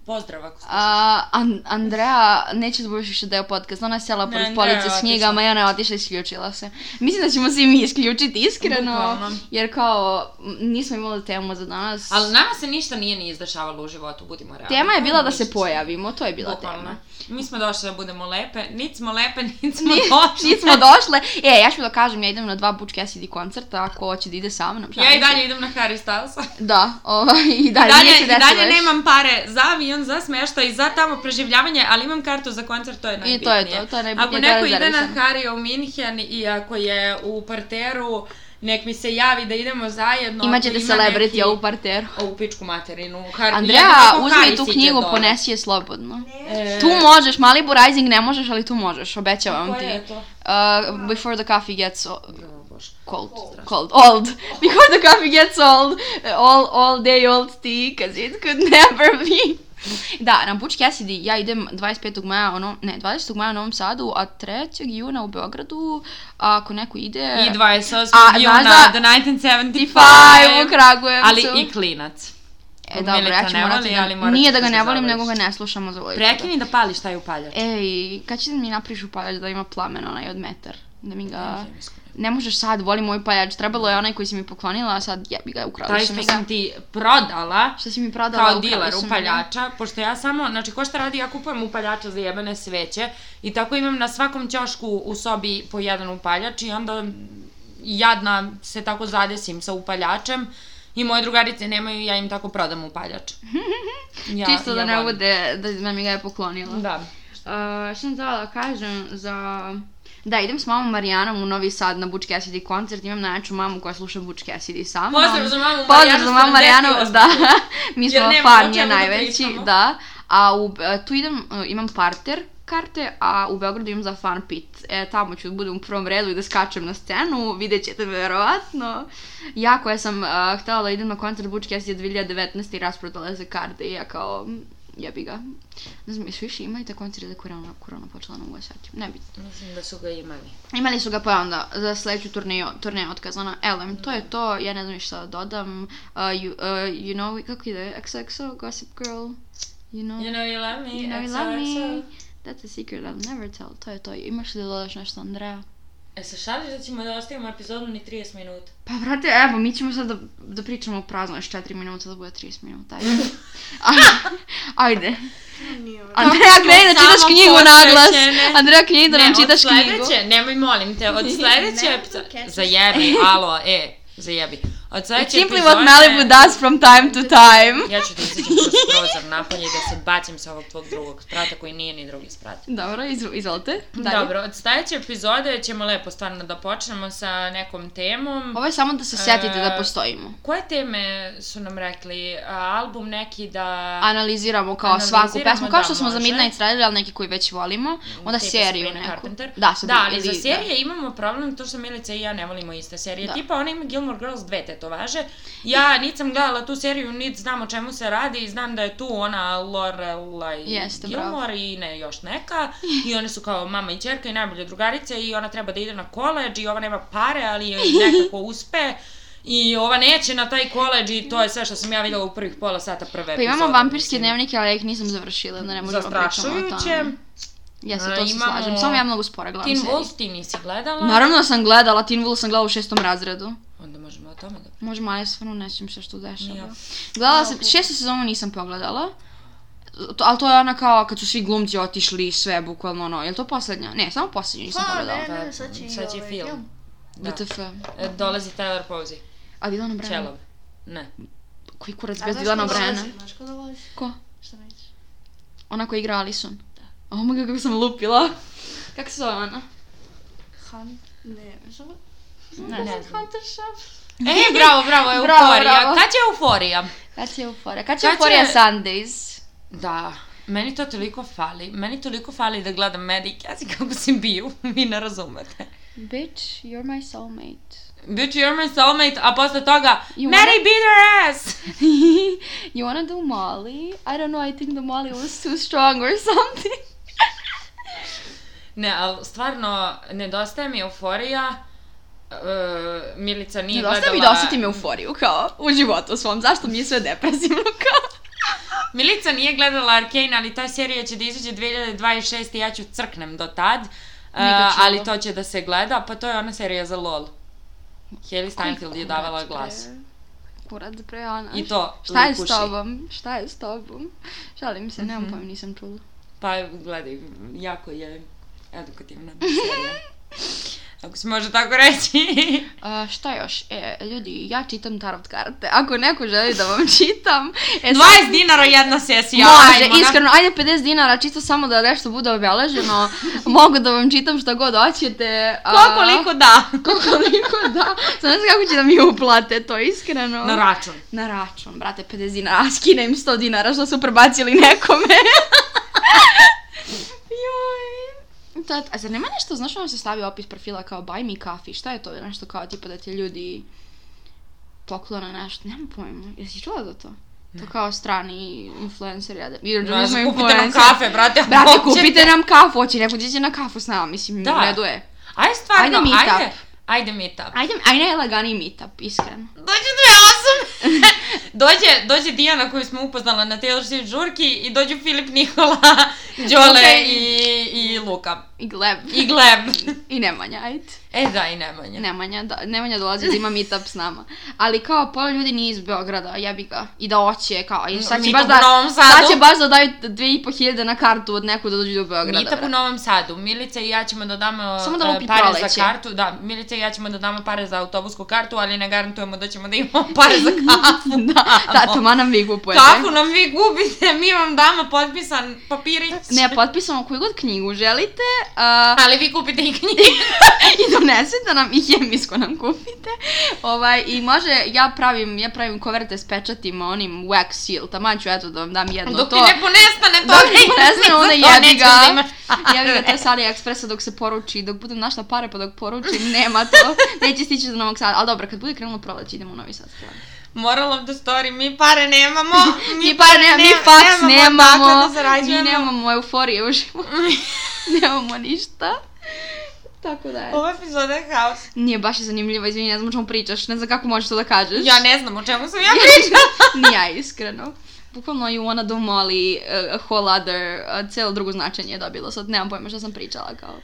B: Pozdrav ako slušaš.
A: A, An- Andrea, neću da budeš više deo podcast, ona je sjela
B: Ne,
A: pored
B: Andrea je
A: police s
B: otišla.
A: knjigama i ona je otišla i isključila se. Mislim da ćemo se i mi isključiti, iskreno,
B: Bukvalno.
A: jer kao m, nismo imali temu za danas.
B: Ali nama se ništa nije ni izdešavalo u životu, budimo realni.
A: Tema je bila da
B: Ništa
A: se pojavimo, to je bila
B: Bukvalno.
A: tema.
B: Mi smo došle da budemo lepe, nit smo lepe, nit smo
A: Ni-
B: došle.
A: Nismo došle. E, ja ću da kažem, ja idem na dva Butch Cassidy koncerta, ako hoće da ide sa mnom.
B: Ja i
A: šalim se.
B: dalje idem na Harry Styles.
A: Da, ovaj, i dalje,
B: dalje,
A: nije se
B: i
A: desilo
B: dalje
A: još.
B: nemam pare za avion, za smeštaj, za tamo preživljavanje, ali imam kartu za koncert, to je najbitnije.
A: I to je to, to je najbitnije.
B: Ako
A: to je
B: neko ide na
A: rezervisano.
B: Harry u Minhen i ako je u parteru nek mi se javi da idemo zajedno.
A: Imaćete
B: ako ima
A: celebrity
B: neki-
A: neki... u parteru.
B: Ovu pičku materinu. Har...
A: Andreja,
B: jednako
A: uzmi
B: Harry
A: tu
B: siđe
A: knjigu,
B: dole.
A: ponesi je slobodno.
B: E,
A: Tu možeš, Malibu Rising ne možeš, ali tu možeš, obećavam
B: Koja
A: ti.
B: je to?
A: Uh, before the coffee gets o-
B: O, Bože.
A: cold, cold, old. Before the coffee gets old, all, all day old tea, cause it could never be. Da, na Butch Cassidy ja idem 25. maja, ono, ne, 20. maja u Novom Sadu, a 3. juna u Beogradu, a ako neko ide...
B: E. I 28.
A: E. A,
B: juna,
A: znaš da-
B: the
A: 25 u
B: 1975.
A: Kragujevcu.
B: Ali i klinac.
A: E, dobro, ja
B: Milica
A: ću
B: ne
A: morati
B: voli,
A: da...
B: ali morat
A: Nije
B: ćeš
A: da ga
B: da
A: ne volim,
B: zabaviš.
A: nego ga ne slušam od uvijek.
B: Prekini da pališ taj upaljač.
A: E, Ej, kad ćete mi napriš upaljač da ima plamen onaj od metar? Da mi ga... Ne možeš sad, volim moj paljač. Trebalo je onaj koji si mi poklonila, a sad jebi ga, ukrali
B: Taj
A: su mi
B: što
A: ga.
B: sam ti prodala,
A: Što si mi prodala,
B: kao
A: ukrali
B: diler
A: su mi ga.
B: upaljača, pošto ja samo, znači ko šta radi, ja kupujem upaljača za jebene sveće i tako imam na svakom ćošku u sobi po jedan upaljač i onda jadna se tako zadesim sa upaljačem i moje drugarice nemaju, ja im tako prodam upaljač. Ja,
A: Čisto da
B: ja
A: ne
B: volim.
A: bude, da, da mi ga je poklonila.
B: Da.
A: Uh, što sam htjela da kažem za... Da, idem s mamom Marijanom u Novi Sad na Butch Cassidy koncert, imam najjaču mamu koja sluša Butch Cassidy sa mnom.
B: Pozdrav za mamu
A: Pozdrav
B: Marijanu,
A: za mamu Marijanu,
B: 78.
A: da, mi
B: Jer
A: smo
B: nemamo o
A: fan, je
B: čemu da
A: najveći,
B: pričamo.
A: da. A u, e, tu idem, e, imam parter karte, a u Beogradu imam za fan pit. E, tamo ću da budem u prvom redu i da skačem na scenu, vidjet ćete me verovatno. Ja koja sam e, htjela da idem na koncert Butch Cassidy 2019. i rasprodala je za karte i ja kao, mm, jebi ga. Ne znam, jesu više imali te koncerte da je korona, korona počela na uvasati? Ne bitno.
B: Mislim da su ga imali.
A: Imali su ga pa onda za sledeću turneju, turneju otkazana. Elem, ono, to je to, ja ne znam ništa da dodam. Uh, you, uh, you know, kako ide, XOXO, Gossip Girl, you know,
B: You know you love me,
A: Mm. you know you love me, that's a secret I'll never tell, to je to. Imaš li da dodaš nešto, Andreja?
B: E, se šališ da ćemo da ostavimo epizodu ni 30 minuta?
A: Pa, brate, evo, mi ćemo sad da, da pričamo prazno još 4 minuta, da bude 30 minuta, ajde. ajde.
C: Nije ovo.
A: Andreja, kreni da
B: samo
A: čitaš knjigu naglas.
B: posvećene.
A: Andreja, kreni da nam
B: od
A: čitaš knjigu.
B: sledeće, nemoj molim te, od sledeće
C: Ne,
B: epizode...
C: Cassidy.
B: Zajebi, alo, e, zajebi. Od sledeće
A: Simply what Malibu does from time to time.
B: Ja ću da izađem kroz prozor napolje i da se bacim sa ovog tvog drugog sprata koji nije ni drugi sprat.
A: Dobro, izv- izvolite. Dalje.
B: Dobro, od sledeće epizode ćemo lepo stvarno da počnemo sa nekom temom.
A: Ovo je samo da se setite
B: E,
A: da postojimo.
B: Koje teme su nam rekli? A, album neki da...
A: Analiziramo kao
B: analiziramo,
A: svaku pesmu, kao
B: da,
A: što smo za
B: može. Mm,
A: Midnight radili, ali neki koji već volimo, onda
B: tipa
A: seriju
B: Sabrina
A: neku.
B: Carpenter.
A: Da, Sabrina,
B: da, ali za
A: ili-
B: serije imamo problem to što Milica i ja ne volimo iste serije.
A: Da.
B: Tipa ona ima Gilmore Girls dve tetovaže. Ja nisam gledala tu seriju, nit znam o čemu se radi i znam da je tu ona Lorelai
A: Jeste, bravo.
B: Gilmore i ne još neka. I one su kao mama i čerka i najbolje drugarice i ona treba da ide na koleđ i ova nema pare, ali joj nekako uspe. I ova neće na taj koleđ i to je sve što sam ja vidjela u prvih pola sata prve
A: Pa imamo vampirske dnevnike, ali ja ih nisam završila, da ne možemo pričamo o
B: Zastrašujuće.
A: tome. Jeste,
B: A,
A: to se
B: imamo
A: slažem, samo ja mnogo spora gledam
B: Teen
A: serije.
B: Wolf ti nisi gledala.
A: Naravno da sam gledala, Teen Wolf sam gledala u šestom razredu.
B: Onda možemo o tome da
A: Možda malo stvarno ne sjećam se što dešava.
B: Ni ja.
A: Gledala sam, šestu sezonu nisam pogledala. To, ali to je ona kao kad su svi glumci otišli i sve, bukvalno ono, je li to poslednja? Ne, samo poslednju nisam
C: Pa,
A: pogledala.
C: ne, ne, sad će, i
B: Sad će
C: ovaj
B: film. Da.
A: BTF.
B: E, dolazi Tyler Posey.
A: A Dylan O'Brien?
B: Čelov. Ne.
A: Koji kurac
C: A
A: bez
C: znaš
A: Dylan
C: ko dolazi?
A: O'Briena?
C: Znaš ko dolazi?
A: Ko?
C: Šta nećeš?
A: Ona koja igra Alison. Da. Oh my god, kako sam lupila. Kako se zove ona?
C: Han? Ne, znam.
B: Ne, ne znam.
C: Hunter Shop?
B: E, bravo, bravo,
A: Bravo,
B: euforija.
A: bravo.
B: Kad je euforija?
A: Kad će euforija? Kad će
B: Kad će-
A: euforija Sundays?
B: Da. Meni to toliko fali. Meni toliko fali da gledam Mad i Cassie kako se biju. Vi ne razumete.
A: Bitch, you're my soulmate.
B: Bitch, you're my soulmate, a posle toga
A: You
B: Mary
A: wanna-
B: beat her ass!
A: you wanna do Molly? I don't know, I think the Molly was too strong or something.
B: Ne, ali stvarno, nedostaje mi euforija. E, Milica nije
A: Nedostaje mi da
B: gledala...
A: osetim euforiju, kao, u životu svom. Zašto mi je sve depresivno, kao?
B: Milica nije gledala Arkane, ali ta serija će da izađe 2026 i ja ću crknem do tad. Uh,
A: Nikad čulo.
B: ali to će da se gleda, pa to je ona serija za LOL. Haley Steinfeld je davala glas.
A: Kurac pre, Znači, Ana.
B: I to
A: Šta je s
B: lipuši.
A: tobom? Šta je s tobom? Šalim se, nemam
B: Mhm.
A: pojma, nisam čula.
B: Pa gledaj, jako je edukativna serija. Ako se može tako reći.
A: A, šta još? E, ljudi, ja čitam tarot karte. Ako neko želi da vam čitam... E,
B: 20 dinara jedna sesija.
A: Može,
B: ajmo na-
A: iskreno, ajde 50 dinara, čisto samo da nešto bude obeleženo. Mogu da vam čitam šta god hoćete. a-
B: Koliko da?
A: Koliko da. Znam ne znam kako će da mi uplate to, iskreno.
B: Na račun.
A: Na račun, brate, 50 dinara, a skine im 100 dinara što su prebacili nekome. Joj. To, je- a zar nema nešto, znaš ono se stavi opis profila kao buy me coffee, šta je to? Nešto kao tipa da ti ljudi poklona nešto, nemam pojma, jesi čula za to? To kao strani influencer, ja da... Ili
B: Znaš,
A: imaju
B: kupite nam
A: influencer.
B: kafe, brate. ako
A: Brate,
B: hoćete.
A: kupite nam kafu, hoće neko ići na kafu s nama, mislim,
B: Da.
A: da. u redu je.
B: Ajde stvarno,
A: Ajde
B: ajde.
A: meetup.
B: Ajde, ajde meetup.
A: Ajde, ajde najlaganiji meetup, iskreno.
B: Dođe dve osobe. dođe, dođe Dijana koju smo upoznala na Taylor Swift žurki i dođu Filip Nikola, Đole
A: Okej.
B: i, i Luka.
A: I gleb.
B: I Gleb.
A: I Nemanja, ajde.
B: E da, i Nemanja.
A: Nemanja, da, Nemanja dolazi da ima meetup s nama. Ali kao pola ljudi nije iz Beograda, jebi ga. I da oće, kao, i sad će
B: Meetup
A: baš
B: u
A: da...
B: Novom Sadu.
A: Sad će baš da daju 2500 na kartu od nekud da dođu do Beograda.
B: Meetup u
A: brate.
B: Novom Sadu. Milica i ja ćemo da damo
A: Samo da
B: e,
A: lupi
B: pare
A: proleće.
B: za kartu. Da, Milica i ja ćemo da damo pare za autobusku kartu, ali ne garantujemo da ćemo da imamo pare za kafu.
A: da, da, to ma nam vi kupujete.
B: Kafu nam vi gubite, mi vam damo potpisan papirić.
A: Ne, pa- potpisamo koju god knjigu želite a,
B: Ali vi kupite i knjige.
A: i donesete nam i hemijsko nam kupite. Ovaj, I može, ja pravim, ja pravim koverte s pečatima, onim wax seal, taman ću eto da vam dam jedno
B: Dok
A: to.
B: ti ne ponestane to,
A: Dok mi
B: ne
A: prestane, onda
B: za to
A: jebi
B: nećeš
A: ga.
B: da imaš
A: Jebi ga, to
B: pare.
A: je sa AliExpressa dok se poruči, dok budem našla pare pa dok poručim, nema to. Neće stići do Novog Sada, ali dobro, kad bude krenulo proleće idemo u Novi Sad.
B: Moral of the story, mi pare nemamo.
A: Mi pare nema, mi
B: nema-
A: fax nemamo,
B: Nemamo dakle da
A: mi
B: zarađujemo.
A: nemamo euforije u životu, nemamo ništa. Tako da je.
B: Ova epizoda je haos.
A: Nije baš je zanimljiva, izvini, ne znam o čemu pričaš, ne znam kako možeš to da kažeš.
B: Ja ne znam o čemu sam ja pričala.
A: Ni ja, iskreno. Bukvalno you wanna do Molly, uh, a whole other, uh, cijelo drugo značenje je dobilo, sad nemam pojma što sam pričala kao.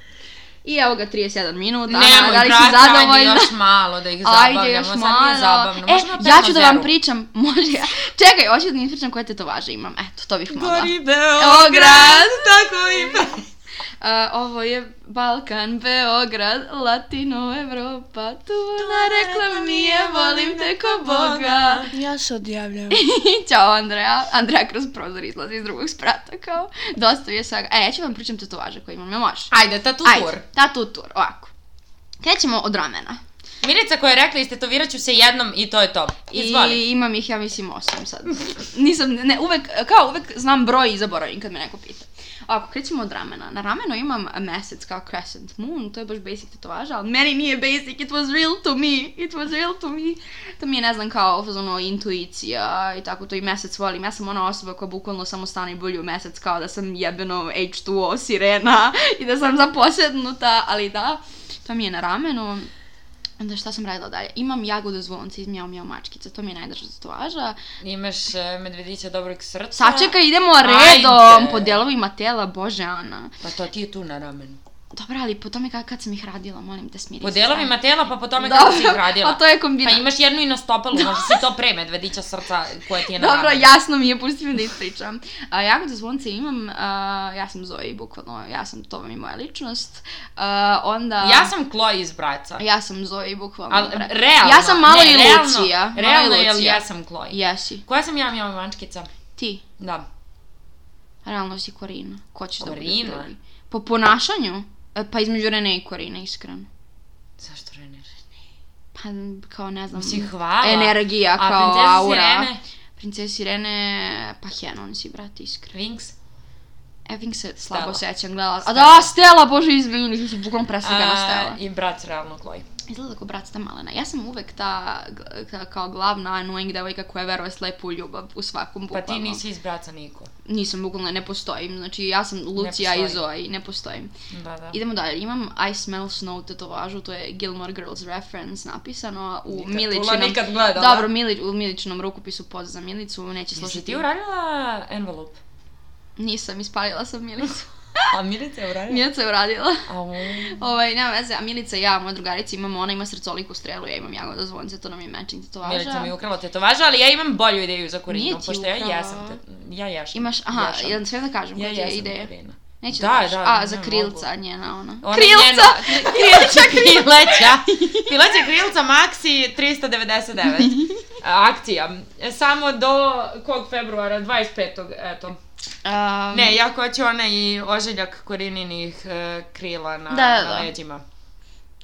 A: I evo ga 37 minuta, Ana,
B: Nemoj,
A: da li si
B: brate, ajde
A: zadovoljna?
B: još malo da ih zabavljamo.
A: Ajde još
B: Sad nije
A: malo.
B: zabavno. Možemo
A: E,
B: opet
A: ja ću da vam
B: Mazeru.
A: pričam, može ja. Čekaj, hoću da mi pričam koje tetovaže imam, eto, to bih mogla.
B: Gori Beograd,
A: Beograd.
B: tako i pre-
A: Uh, ovo je Balkan, Beograd, Latino, Evropa, tu na reklam nije, volim te ko Boga.
C: Ja se odjavljam.
A: Ćao Andreja. Andreja kroz prozor izlazi iz drugog sprata kao. Dosta je svega. E, ja ću vam pričam tetovaže koje imam, jel može?
B: Ajde, tatu tur.
A: Ajde, tatu tur, ovako. Krećemo od ramena.
B: Milica koja je rekla istetovirat ću se jednom i to je to. Izvoli.
A: I imam ih, ja mislim, osam sad. Nisam, ne, uvek, kao uvek znam broj i zaboravim kad me neko pita. Ovako, krećemo od ramena. Na ramenu imam mesec kao crescent moon, to je baš basic tetovaža, ali meni nije basic, it was real to me, it was real to me. To mi je, ne znam, kao, ono, intuicija i tako to i mesec volim. Ja sam ona osoba koja bukvalno samo stane i bulju mesec kao da sam jebeno H2O sirena i da sam zaposednuta, ali da, to mi je na ramenu. Onda šta sam radila dalje? Imam jagodu zvonce iz Mjau Mjau mačkice, to mi je najdraža tatuaža.
B: Imaš e, medvedića dobrog srca.
A: Sačekaj, idemo redom
B: Ajde.
A: po delovima tela, bože Ana.
B: Pa to ti je tu na ramenu.
A: Dobra, ali po tome kad, kad sam ih radila, molim te smiri
B: Po
A: se.
B: delovima tela, pa po tome
A: Dobro,
B: kako si ih radila.
A: A to je kombina.
B: Pa imaš jednu i na stopalu, možda si to pre medvedića srca koja ti je na
A: Dobro,
B: ramenu.
A: jasno mi je, pusti me da ispričam. A, jagodu zvonce imam, a, ja sam Zoe, bukvalno, ja sam, to vam je moja ličnost. A, onda...
B: Ja sam Chloe iz Braca.
A: Ja sam Zoe, bukvalno.
B: Al,
A: bre.
B: realno.
A: Ja sam malo
B: ne,
A: i
B: realno-
A: Lucija. malo i
B: Realno, jel
A: Lucija.
B: ja sam Chloe.
A: Jesi.
B: Koja sam ja mjava mačkica?
A: Ti?
B: Da.
A: Realno si Korina. Ko ćeš da
B: Korina?
A: bude drugi? Po ponašanju? E, Pa između Rene i Korine, iskreno.
B: Zašto Rene Rene?
A: Pa, kao ne znam.
B: Mislim, hvala.
A: Energija,
B: A
A: kao
B: princesa
A: aura.
B: Sirene?
A: Princesi Rene, pa Henon si, brate, iskreno.
B: Wings?
A: Eving se slabo
B: Stella.
A: sećam, gledala. A
B: Stella.
A: da, Stella, bože, izbili, nisam se bukvalno preslikana
B: A,
A: Stella.
B: I brat realno Chloe.
A: Izgleda kao brat ta malena. Ja sam uvek ta, ta kao glavna annoying devojka koja veruje slepo u ljubav u svakom
B: Pa
A: bukvalno.
B: ti nisi iz braca Niko.
A: Nisam bukvalno, ne postojim. Znači, ja sam Lucija i
B: postoji.
A: Zoe, ne postojim.
B: Da, da.
A: Idemo dalje, imam I Smell Snow tetovažu, to je Gilmore Girls reference napisano u
B: Nikad
A: Milićinom...
B: čula, nikad gledala.
A: Dobro, Milić, u Milićinom rukopisu poz za Milicu, neće
B: Jesi
A: slušati.
B: ti uradila envelope?
A: Nisam, ispalila sam Milicu.
B: A Milica je uradila?
A: Milica je uradila.
B: Au.
A: Ovaj, nema veze, a Milica i ja, moja drugarica, imamo, ona ima srcoliku strelu, ja imam jagoda zvonce, to nam je matching tetovaža.
B: Milica mi je ukrala tetovaža, ali ja imam bolju ideju za
A: Nije
B: kurinu,
A: ti
B: pošto ja
A: ukrala.
B: jesam te... Ja jašam.
A: Imaš, aha,
B: jašam.
A: jel sve da kažem
B: Ja
A: koja ti je
B: jesam
A: ideja?
B: kurina.
A: Neće
B: Da,
A: da, daš.
B: da,
A: A, za
B: ne
A: krilca njena ona.
B: Ona
A: krilca!
B: njena- Krilca, krileća. Pileća krilca Maxi 399 akcija. E, Samo do kog februara? 25. Eto.
A: Um,
B: Ne, ja hoću ona i ožiljak korininih e, krila na,
A: Da, da,
B: na
A: da.
B: leđima.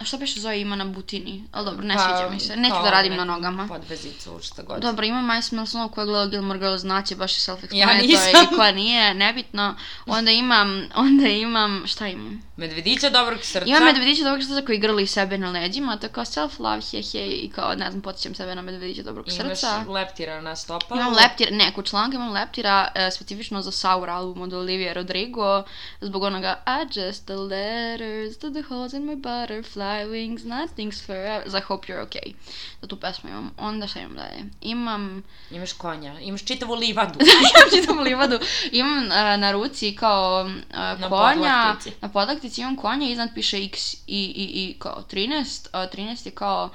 A: A šta beše zove ima na butini? Ali dobro, ne
B: Pa,
A: sviđa mi se. Neću
B: kao
A: da radim na
B: neku
A: nogama.
B: Podvezicu, šta god.
A: Dobro, ima My Smells Snow koja je gledala Gilmore Girls, znaće baš je self
B: Ja
A: explanatory
B: nisam.
A: i koja nije, nebitno. Onda imam, onda imam, šta imam?
B: Medvedića dobrog srca.
A: Ima medvedića dobrog srca koji grli sebe na leđima, to je kao self love, he he, i kao, ne znam, podsjećam sebe na medvedića dobrog srca. Pa
B: Imaš Pa- leptira na stopalu.
A: Imam leptira, ne, kod članka imam leptira e, specifično za Saur album od Olivia Rodrigo zbog onoga I just the letters to the holes in my butterfly wings nothing's forever za Hope You're Okay za tu pesmu imam onda šta imam dalje imam
B: Imaš konja. Imaš čitavu livadu.
A: imam čitam livadu imam e, na ruci kao e,
B: Na
A: konja
B: podlaktici.
A: na podlaktici imam konja iznad piše x i, i, i kao 13 a 13 je kao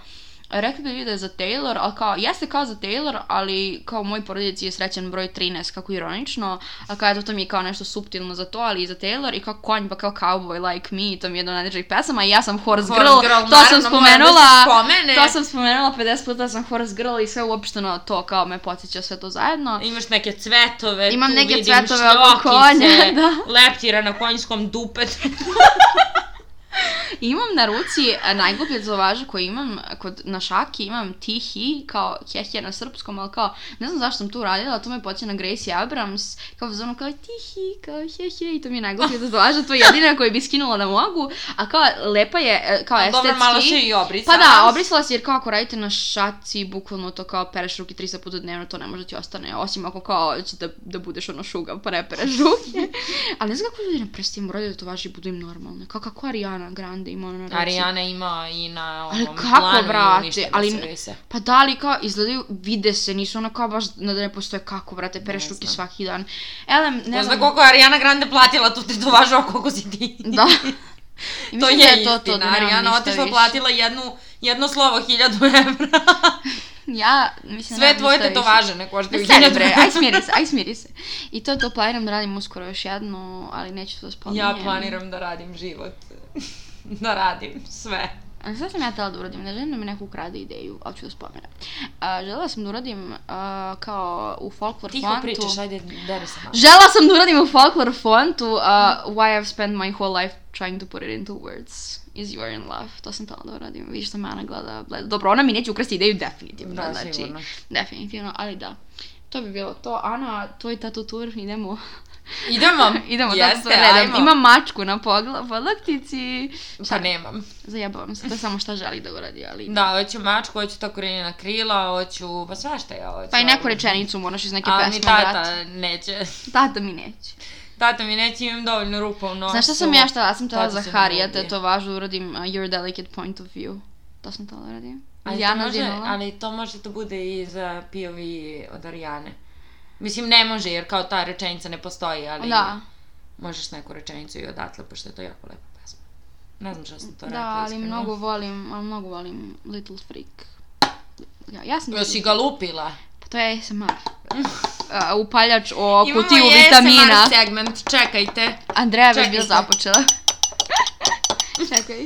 A: Rekli bi da je za Taylor, ali kao, jeste kao za Taylor, ali kao moj porodici je srećan broj 13, kako ironično, a kao eto to mi je kao nešto suptilno za to, ali i za Taylor, i kao konj, pa kao cowboy like me, to mi je jedna od najdražih pesama, i ja sam Horse,
B: Horse
A: Girl,
B: Girl,
A: to
B: naravno,
A: sam
B: moram
A: spomenula,
B: da se spomene.
A: to sam spomenula 50 puta sam Horse Girl i sve uopšteno to kao me podsjeća sve to zajedno.
B: Imaš neke cvetove,
A: Imam
B: tu
A: neke
B: vidim
A: cvetove oko
B: štokice,
A: konja, da.
B: leptira na konjskom dupetu.
A: Imam na ruci e, najgluplje zlovaže koje imam e, kod, na šaki, imam tihi, kao hehe na srpskom, ali kao, ne znam zašto sam to uradila, to me poče na Gracie Abrams, kao zonu kao tihi, kao hehe, i to mi je najgluplje zlovaže, to je jedina koju bi skinula da mogu, a kao lepa je, e, kao estetski.
B: Dobro, malo se i obrisala.
A: Pa da, obrisala si jer kao ako radite na šaci, bukvalno to kao pereš ruke 300 puta dnevno, to ne može ti ostane, osim ako kao će da, da budeš ono šuga, pa ne pereš ruke. Ali ne znam kako ljudi na prstima moraju da to važi i budu im normalne. Kao kako Ariana Grande ima ono na ruci.
B: Arijana ima i na
A: Ali
B: ovom
A: kako,
B: planu i
A: brate,
B: uništene
A: ali-
B: servise.
A: Pa da, ali kao izgledaju, vide se, nisu ono kao baš da ne postoje kako, brate, pereš
B: Ne
A: ruke
B: znam.
A: svaki dan. Elem, ne
B: Ne
A: znam.
B: znam koliko je Arijana Grande platila tu tetovažu, a koliko si ti.
A: Da. I
B: to
A: mislim
B: je,
A: da
B: istina.
A: da nemam
B: Arijana
A: ništa
B: otišla
A: više.
B: platila jednu, jedno slovo, hiljadu evra.
A: Ja, mislim, da
B: Sve
A: nemam
B: tvoje
A: ništa više.
B: tetovaže ne koštaju
A: Ne seri
B: hiljadu
A: bre,
B: evra.
A: aj smiri se, aj smiri se. I to to planiram da radim uskoro još jednu, ali neću to spominjem.
B: Ja planiram da radim život. da radim sve.
A: A šta sam ja htjela da uradim? Ne želim da mi neko ukrade ideju, ali ću da spomenem. A, želela sam da uradim a, kao u folklor
B: Tiho
A: fontu.
B: pričaš, ajde, deri se malo.
A: Žela sam da uradim u folklor fontu a, Why I've spent my whole life trying to put it into words is you're in love. To sam htjela da uradim. Viš što me Ana gleda. bled- Dobro, ona mi neće ukrasti ideju definitivno.
B: Da,
A: znači,
B: sigurno.
A: Definitivno, ali da. To bi bilo to. Ana, tvoj tatu tur, idemo.
B: Idemo.
A: idemo
B: Jeste,
A: tatu tur redom.
B: ajmo.
A: Imam mačku na pogla- podlaktici.
B: Pa nemam.
A: Zajebavam se, to je samo šta želi da uradi, ali...
B: Da, hoću mačku, hoću ta korenina krila, hoću, pa svašta ja hoću.
A: Pa i neku
B: ali-
A: rečenicu moraš iz neke
B: A
A: pesme,
B: mi
A: tata.
B: tata
A: brat.
B: neće.
A: Tata mi neće.
B: Tata mi neće, imam dovoljno rupa u nosu.
A: Znaš šta sam ja šta, ja sam tela
B: Tata
A: za
B: se
A: Harija,
B: ljubi.
A: te to važno uradim uh, Your Delicate Point of View. To sam tela uradim.
B: Ali to,
A: Dijana
B: može,
A: Zinola.
B: ali to može da bude eh, i za pijovi od Arijane. Mislim, ne može, jer kao ta rečenica ne postoji, ali
A: Da,
B: možeš neku rečenicu i odatle, pošto je to jako lepa pesma. Ne znam što sam to rekla.
A: da, ali
B: iskreno.
A: mnogo volim, ali mnogo volim Little Freak. Ja, ja sam...
B: Još si ga lupila.
A: Pa to je ASMR. Uh, upaljač o
B: Imamo
A: kutiju
B: i
A: vitamina.
B: ASMR segment, čekajte.
A: Andreja već
B: Čekaj
A: bila
B: se.
A: započela. Čekaj.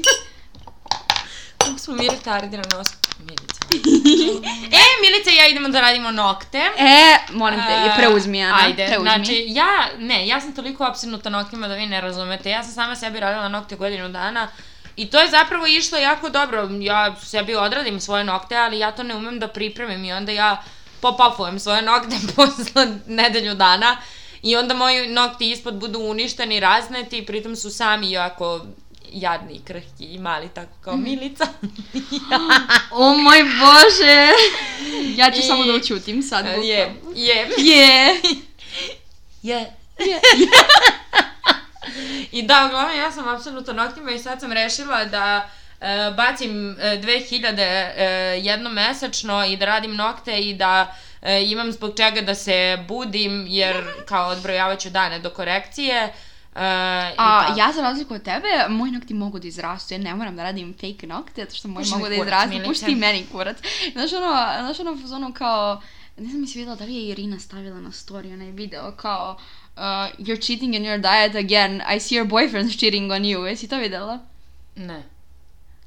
B: Kako smo mi retardirane osobe. Milica. e, Milica i ja idemo da radimo nokte.
A: E, molim te, je preuzmi, Ana.
B: Ajde,
A: preuzmi.
B: znači, ja, ne, ja sam toliko apsinuta noktima da vi ne razumete. Ja sam sama sebi radila nokte godinu dana i to je zapravo išlo jako dobro. Ja sebi odradim svoje nokte, ali ja to ne umem da pripremim i onda ja popafujem svoje nokte posle nedelju dana i onda moji nokti ispod budu uništeni, razneti i pritom su sami jako jadni, krhki i mali, tako kao
A: Mhm.
B: Milica.
A: O moj bože! Ja ću
B: I- E,
A: samo da učutim sad. bukvalno.
B: je, je.
A: Je!
B: Je. I da, uglavnom ja sam apsolutno noktima i sad sam rešila da e, bacim e, 2000 e, jednom mesečno i da radim nokte i da e, imam zbog čega da se budim jer kao odbrojavaću dane do korekcije. E, i
A: A
B: tako.
A: ja za razliku od tebe, moji nokti mogu da izrastu, ja ne moram da radim fake nokte, zato što moji
B: Puši mi
A: mogu da
B: kurac,
A: izrastu,
B: Milice.
A: pušti i meni kurac. Znaš ono, znaš ono, ono kao, ne znam jesi vidjela da li je Irina stavila na story onaj video kao uh, You're cheating in your diet again, I see your boyfriend's cheating on you. Jesi to vidjela?
B: Ne.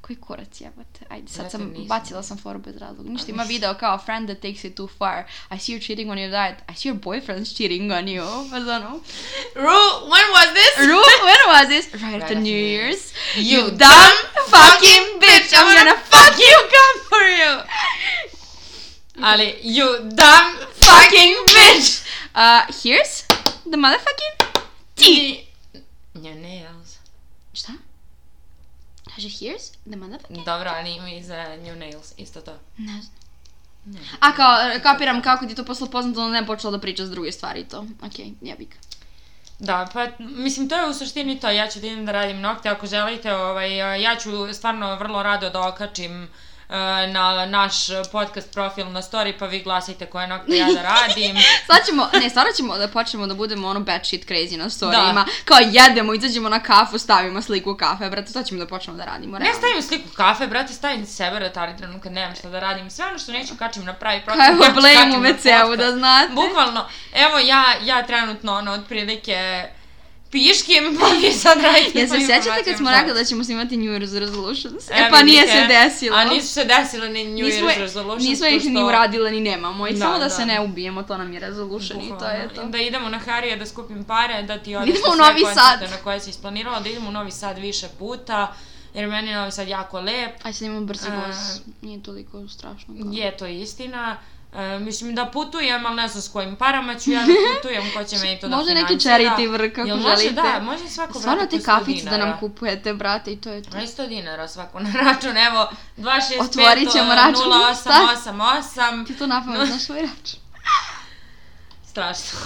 A: Koji kurac jebate? Ajde, sad
B: Brate,
A: sam,
B: nisam.
A: bacila sam foru bez razloga. Ništa, ima video kao friend that takes it too far. I see you cheating on your diet. I see your boyfriend's cheating on you. Pa zano.
B: Ru, when was this?
A: Ru, when was this? Right,
B: Right
A: after
B: after
A: New
B: New
A: Year's.
B: You
A: dumb fucking bitch. I'm gonna
B: fuck you come for you. Ali, you dumb fucking bitch.
A: Uh, here's the motherfucking tea.
B: Nja, ne, nails.
A: Šta? Kaže here's the motherfucking...
B: Dobro, ali ima i za new nails, isto to.
A: Ne znam.
B: Ne.
A: A kao, e, kapiram kako ti je to poslo poznato, ono ne počela da priča s druge stvari i to. Okej, jebik.
B: Da, pa mislim to je u suštini to, ja ću da idem da radim nokte, ako želite, ovaj, ja ću stvarno vrlo rado da okačim eh, na naš podcast profil na story, pa vi glasajte koje nokte ja da radim.
A: Sad ćemo, ne, stvarno ćemo da počnemo da budemo ono bad shit crazy na storijima.
B: Da.
A: Kao jedemo, izađemo na kafu, stavimo sliku kafe, brate, sad ćemo da počnemo da radimo.
B: Ne
A: realno.
B: stavim sliku kafe, brate, stavim sebe retardiranu kad nemam šta da radim. Sve ono što neću kačim na pravi profil.
A: Kao evo,
B: kačim- kačim
A: blame u
B: znači, na
A: WC-u,
B: podcast.
A: da znate.
B: Bukvalno, evo ja, ja trenutno ono, otprilike piškim, pa vi sad radite.
A: Jel se
B: tu
A: sjećate kad
B: informaciju.
A: smo rekli da ćemo snimati New Year's Resolutions? E,
B: E,
A: pa nije
B: vidite,
A: se desilo.
B: A nisu se desile ni New
A: Nismo-
B: Year's resolutions.
A: Nismo ih ni
B: pošto-
A: uradile, ni nemamo. I
B: Da,
A: samo da,
B: da.
A: se ne ubijemo, to nam je resolution i to je
B: Bukvalno.
A: to.
B: Da idemo na Harija da skupim pare, da ti odeš
A: idemo u
B: na sve
A: Novi
B: koncerte
A: Sad.
B: na koje si isplanirala, da idemo u Novi Sad više puta, jer meni je Novi Sad jako lep,
A: Aj sad imam brzi voz,
B: E,
A: nije toliko strašno. kao.
B: je to istina. E, mislim da putujem, ali ne znam s kojim parama ću ja da putujem, ko će meni to da
A: Može neki
B: finansira.
A: charity work ako
B: Jel može,
A: želite.
B: Da, može svako
A: Stvarno
B: brate
A: te
B: po 100
A: kafice da nam
B: dinara.
A: kupujete, brate, i to je to.
B: Aj 100 dinara svako na račun, evo, 265
A: Otvorit ćemo
B: e,
A: račun.
B: 0888.
A: Ti to napamet
B: No.
A: znaš svoj račun.
B: Strašno.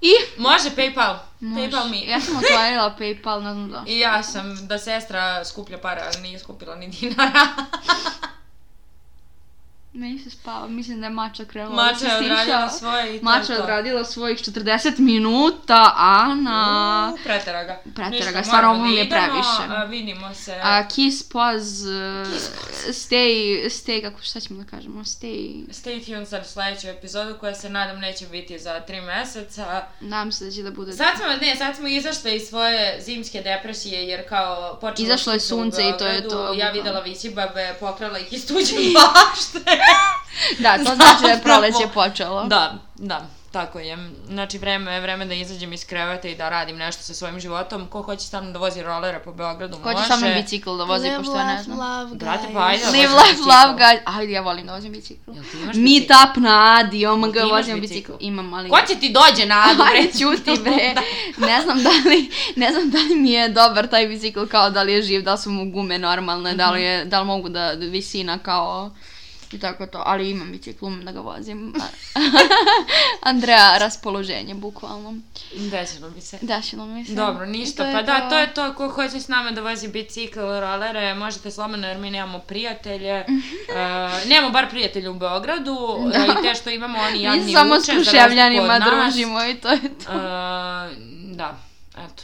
A: I...
B: Može PayPal.
A: Može.
B: PayPal mi.
A: Ja sam otvarila PayPal, ne znam zašto.
B: I ja sam, da sestra skuplja para, ali nije skupila ni dinara.
A: Meni se spava, mislim da je Mača krenula. da se
B: Mača
A: stiša.
B: je odradila
A: Mača
B: svoje i to je
A: je
B: to.
A: odradila svojih 40 minuta, Ana...
B: U, Pretera ga.
A: Pretera
B: Ništa,
A: ga, stvarno
B: moramo
A: ovo mi je
B: da idemo,
A: previše.
B: a, vidimo se.
A: A, kiss, pause, uh, stay, stay, kako, šta ćemo da kažemo, stay,
B: Stay tuned za sledeću epizodu koja se nadam neće biti za tri meseca.
A: nadam se da će da bude...
B: Sad smo, ne, sad smo izašle iz svoje zimske depresije jer kao počelo
A: Izašlo je sunce i to je to,
B: Beogradu, Ja
A: bukvalno.
B: videla visi babe, pokrala ih iz tuđe bašte.
A: Da, to znači da je
B: Zapravo.
A: proleće počelo.
B: Da, da, tako je. Znači, vreme je vreme da izađem iz kreveta i da radim nešto sa svojim životom. Ko hoće sa mnom da vozi rolera po Beogradu,
A: Ko će
B: može.
A: sa mnom bicikl da vozi, pošto ja ne znam.
C: love,
B: Brate,
C: guys.
B: pa ajde.
A: Live
B: vozim
A: life,
B: bicikl.
A: love, guys. Ajde, ja volim da vozim bicikl.
B: Jel ti
A: Meet
B: imaš bicikl?
A: up na Adi, omg,
B: Jel ti imaš
A: vozim bicikl.
B: bicikl?
A: Imam, ali...
B: Ko će ti dođe na Adu,
A: Ajde,
B: bre?
A: ćuti bre. Ne znam da li, ne znam da li mi je dobar taj bicikl, kao da li je živ, da li su mu gume normalne, da li,
B: Mhm.
A: je, da li mogu da da visina kao i tako to, ali imam bicikl, umem da ga vozim. Andreja, raspoloženje, bukvalno.
B: Desilo bi se.
A: Dašilo mi se.
B: Dobro,
A: I
B: ništa,
A: je
B: pa da, to je to, ko hoće s nama da vozi bicikl, rolere, možete slobodno jer mi nemamo prijatelje, e,
A: Mhm.
B: nemamo bar prijatelje u Beogradu, e, i te što imamo oni
A: Mi
B: jadni
A: se samo s
B: uče, za razliku od
A: kruševljanima
B: nas.
A: družimo i to je to.
B: E, da, eto.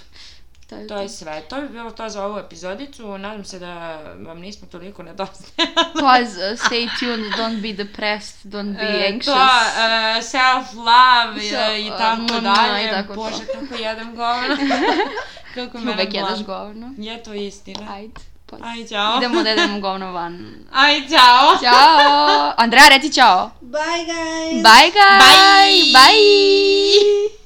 A: To je
B: To
A: to.
B: je sve. To bi bilo to za ovu epizodicu. Nadam se da vam nismo toliko nedostajali.
A: Pause, uh, stay tuned, don't be depressed, don't be
B: E,
A: anxious.
B: To, e, self-love e,
A: Self-
B: i
A: mm,
B: tako
A: i
B: dalje.
A: tako to.
B: Bože, kako jedem govno. kako me
A: Uvek jedeš
B: govno.
A: govno.
B: Je to istina.
A: Ajde, pause.
B: Aj, čao.
A: Idemo da jedemo govno van.
B: Aj, čao.
A: Ćao! Andrea, reci ciao!
C: Bye guys.
A: Bye guys!
B: Bye.
A: Bye!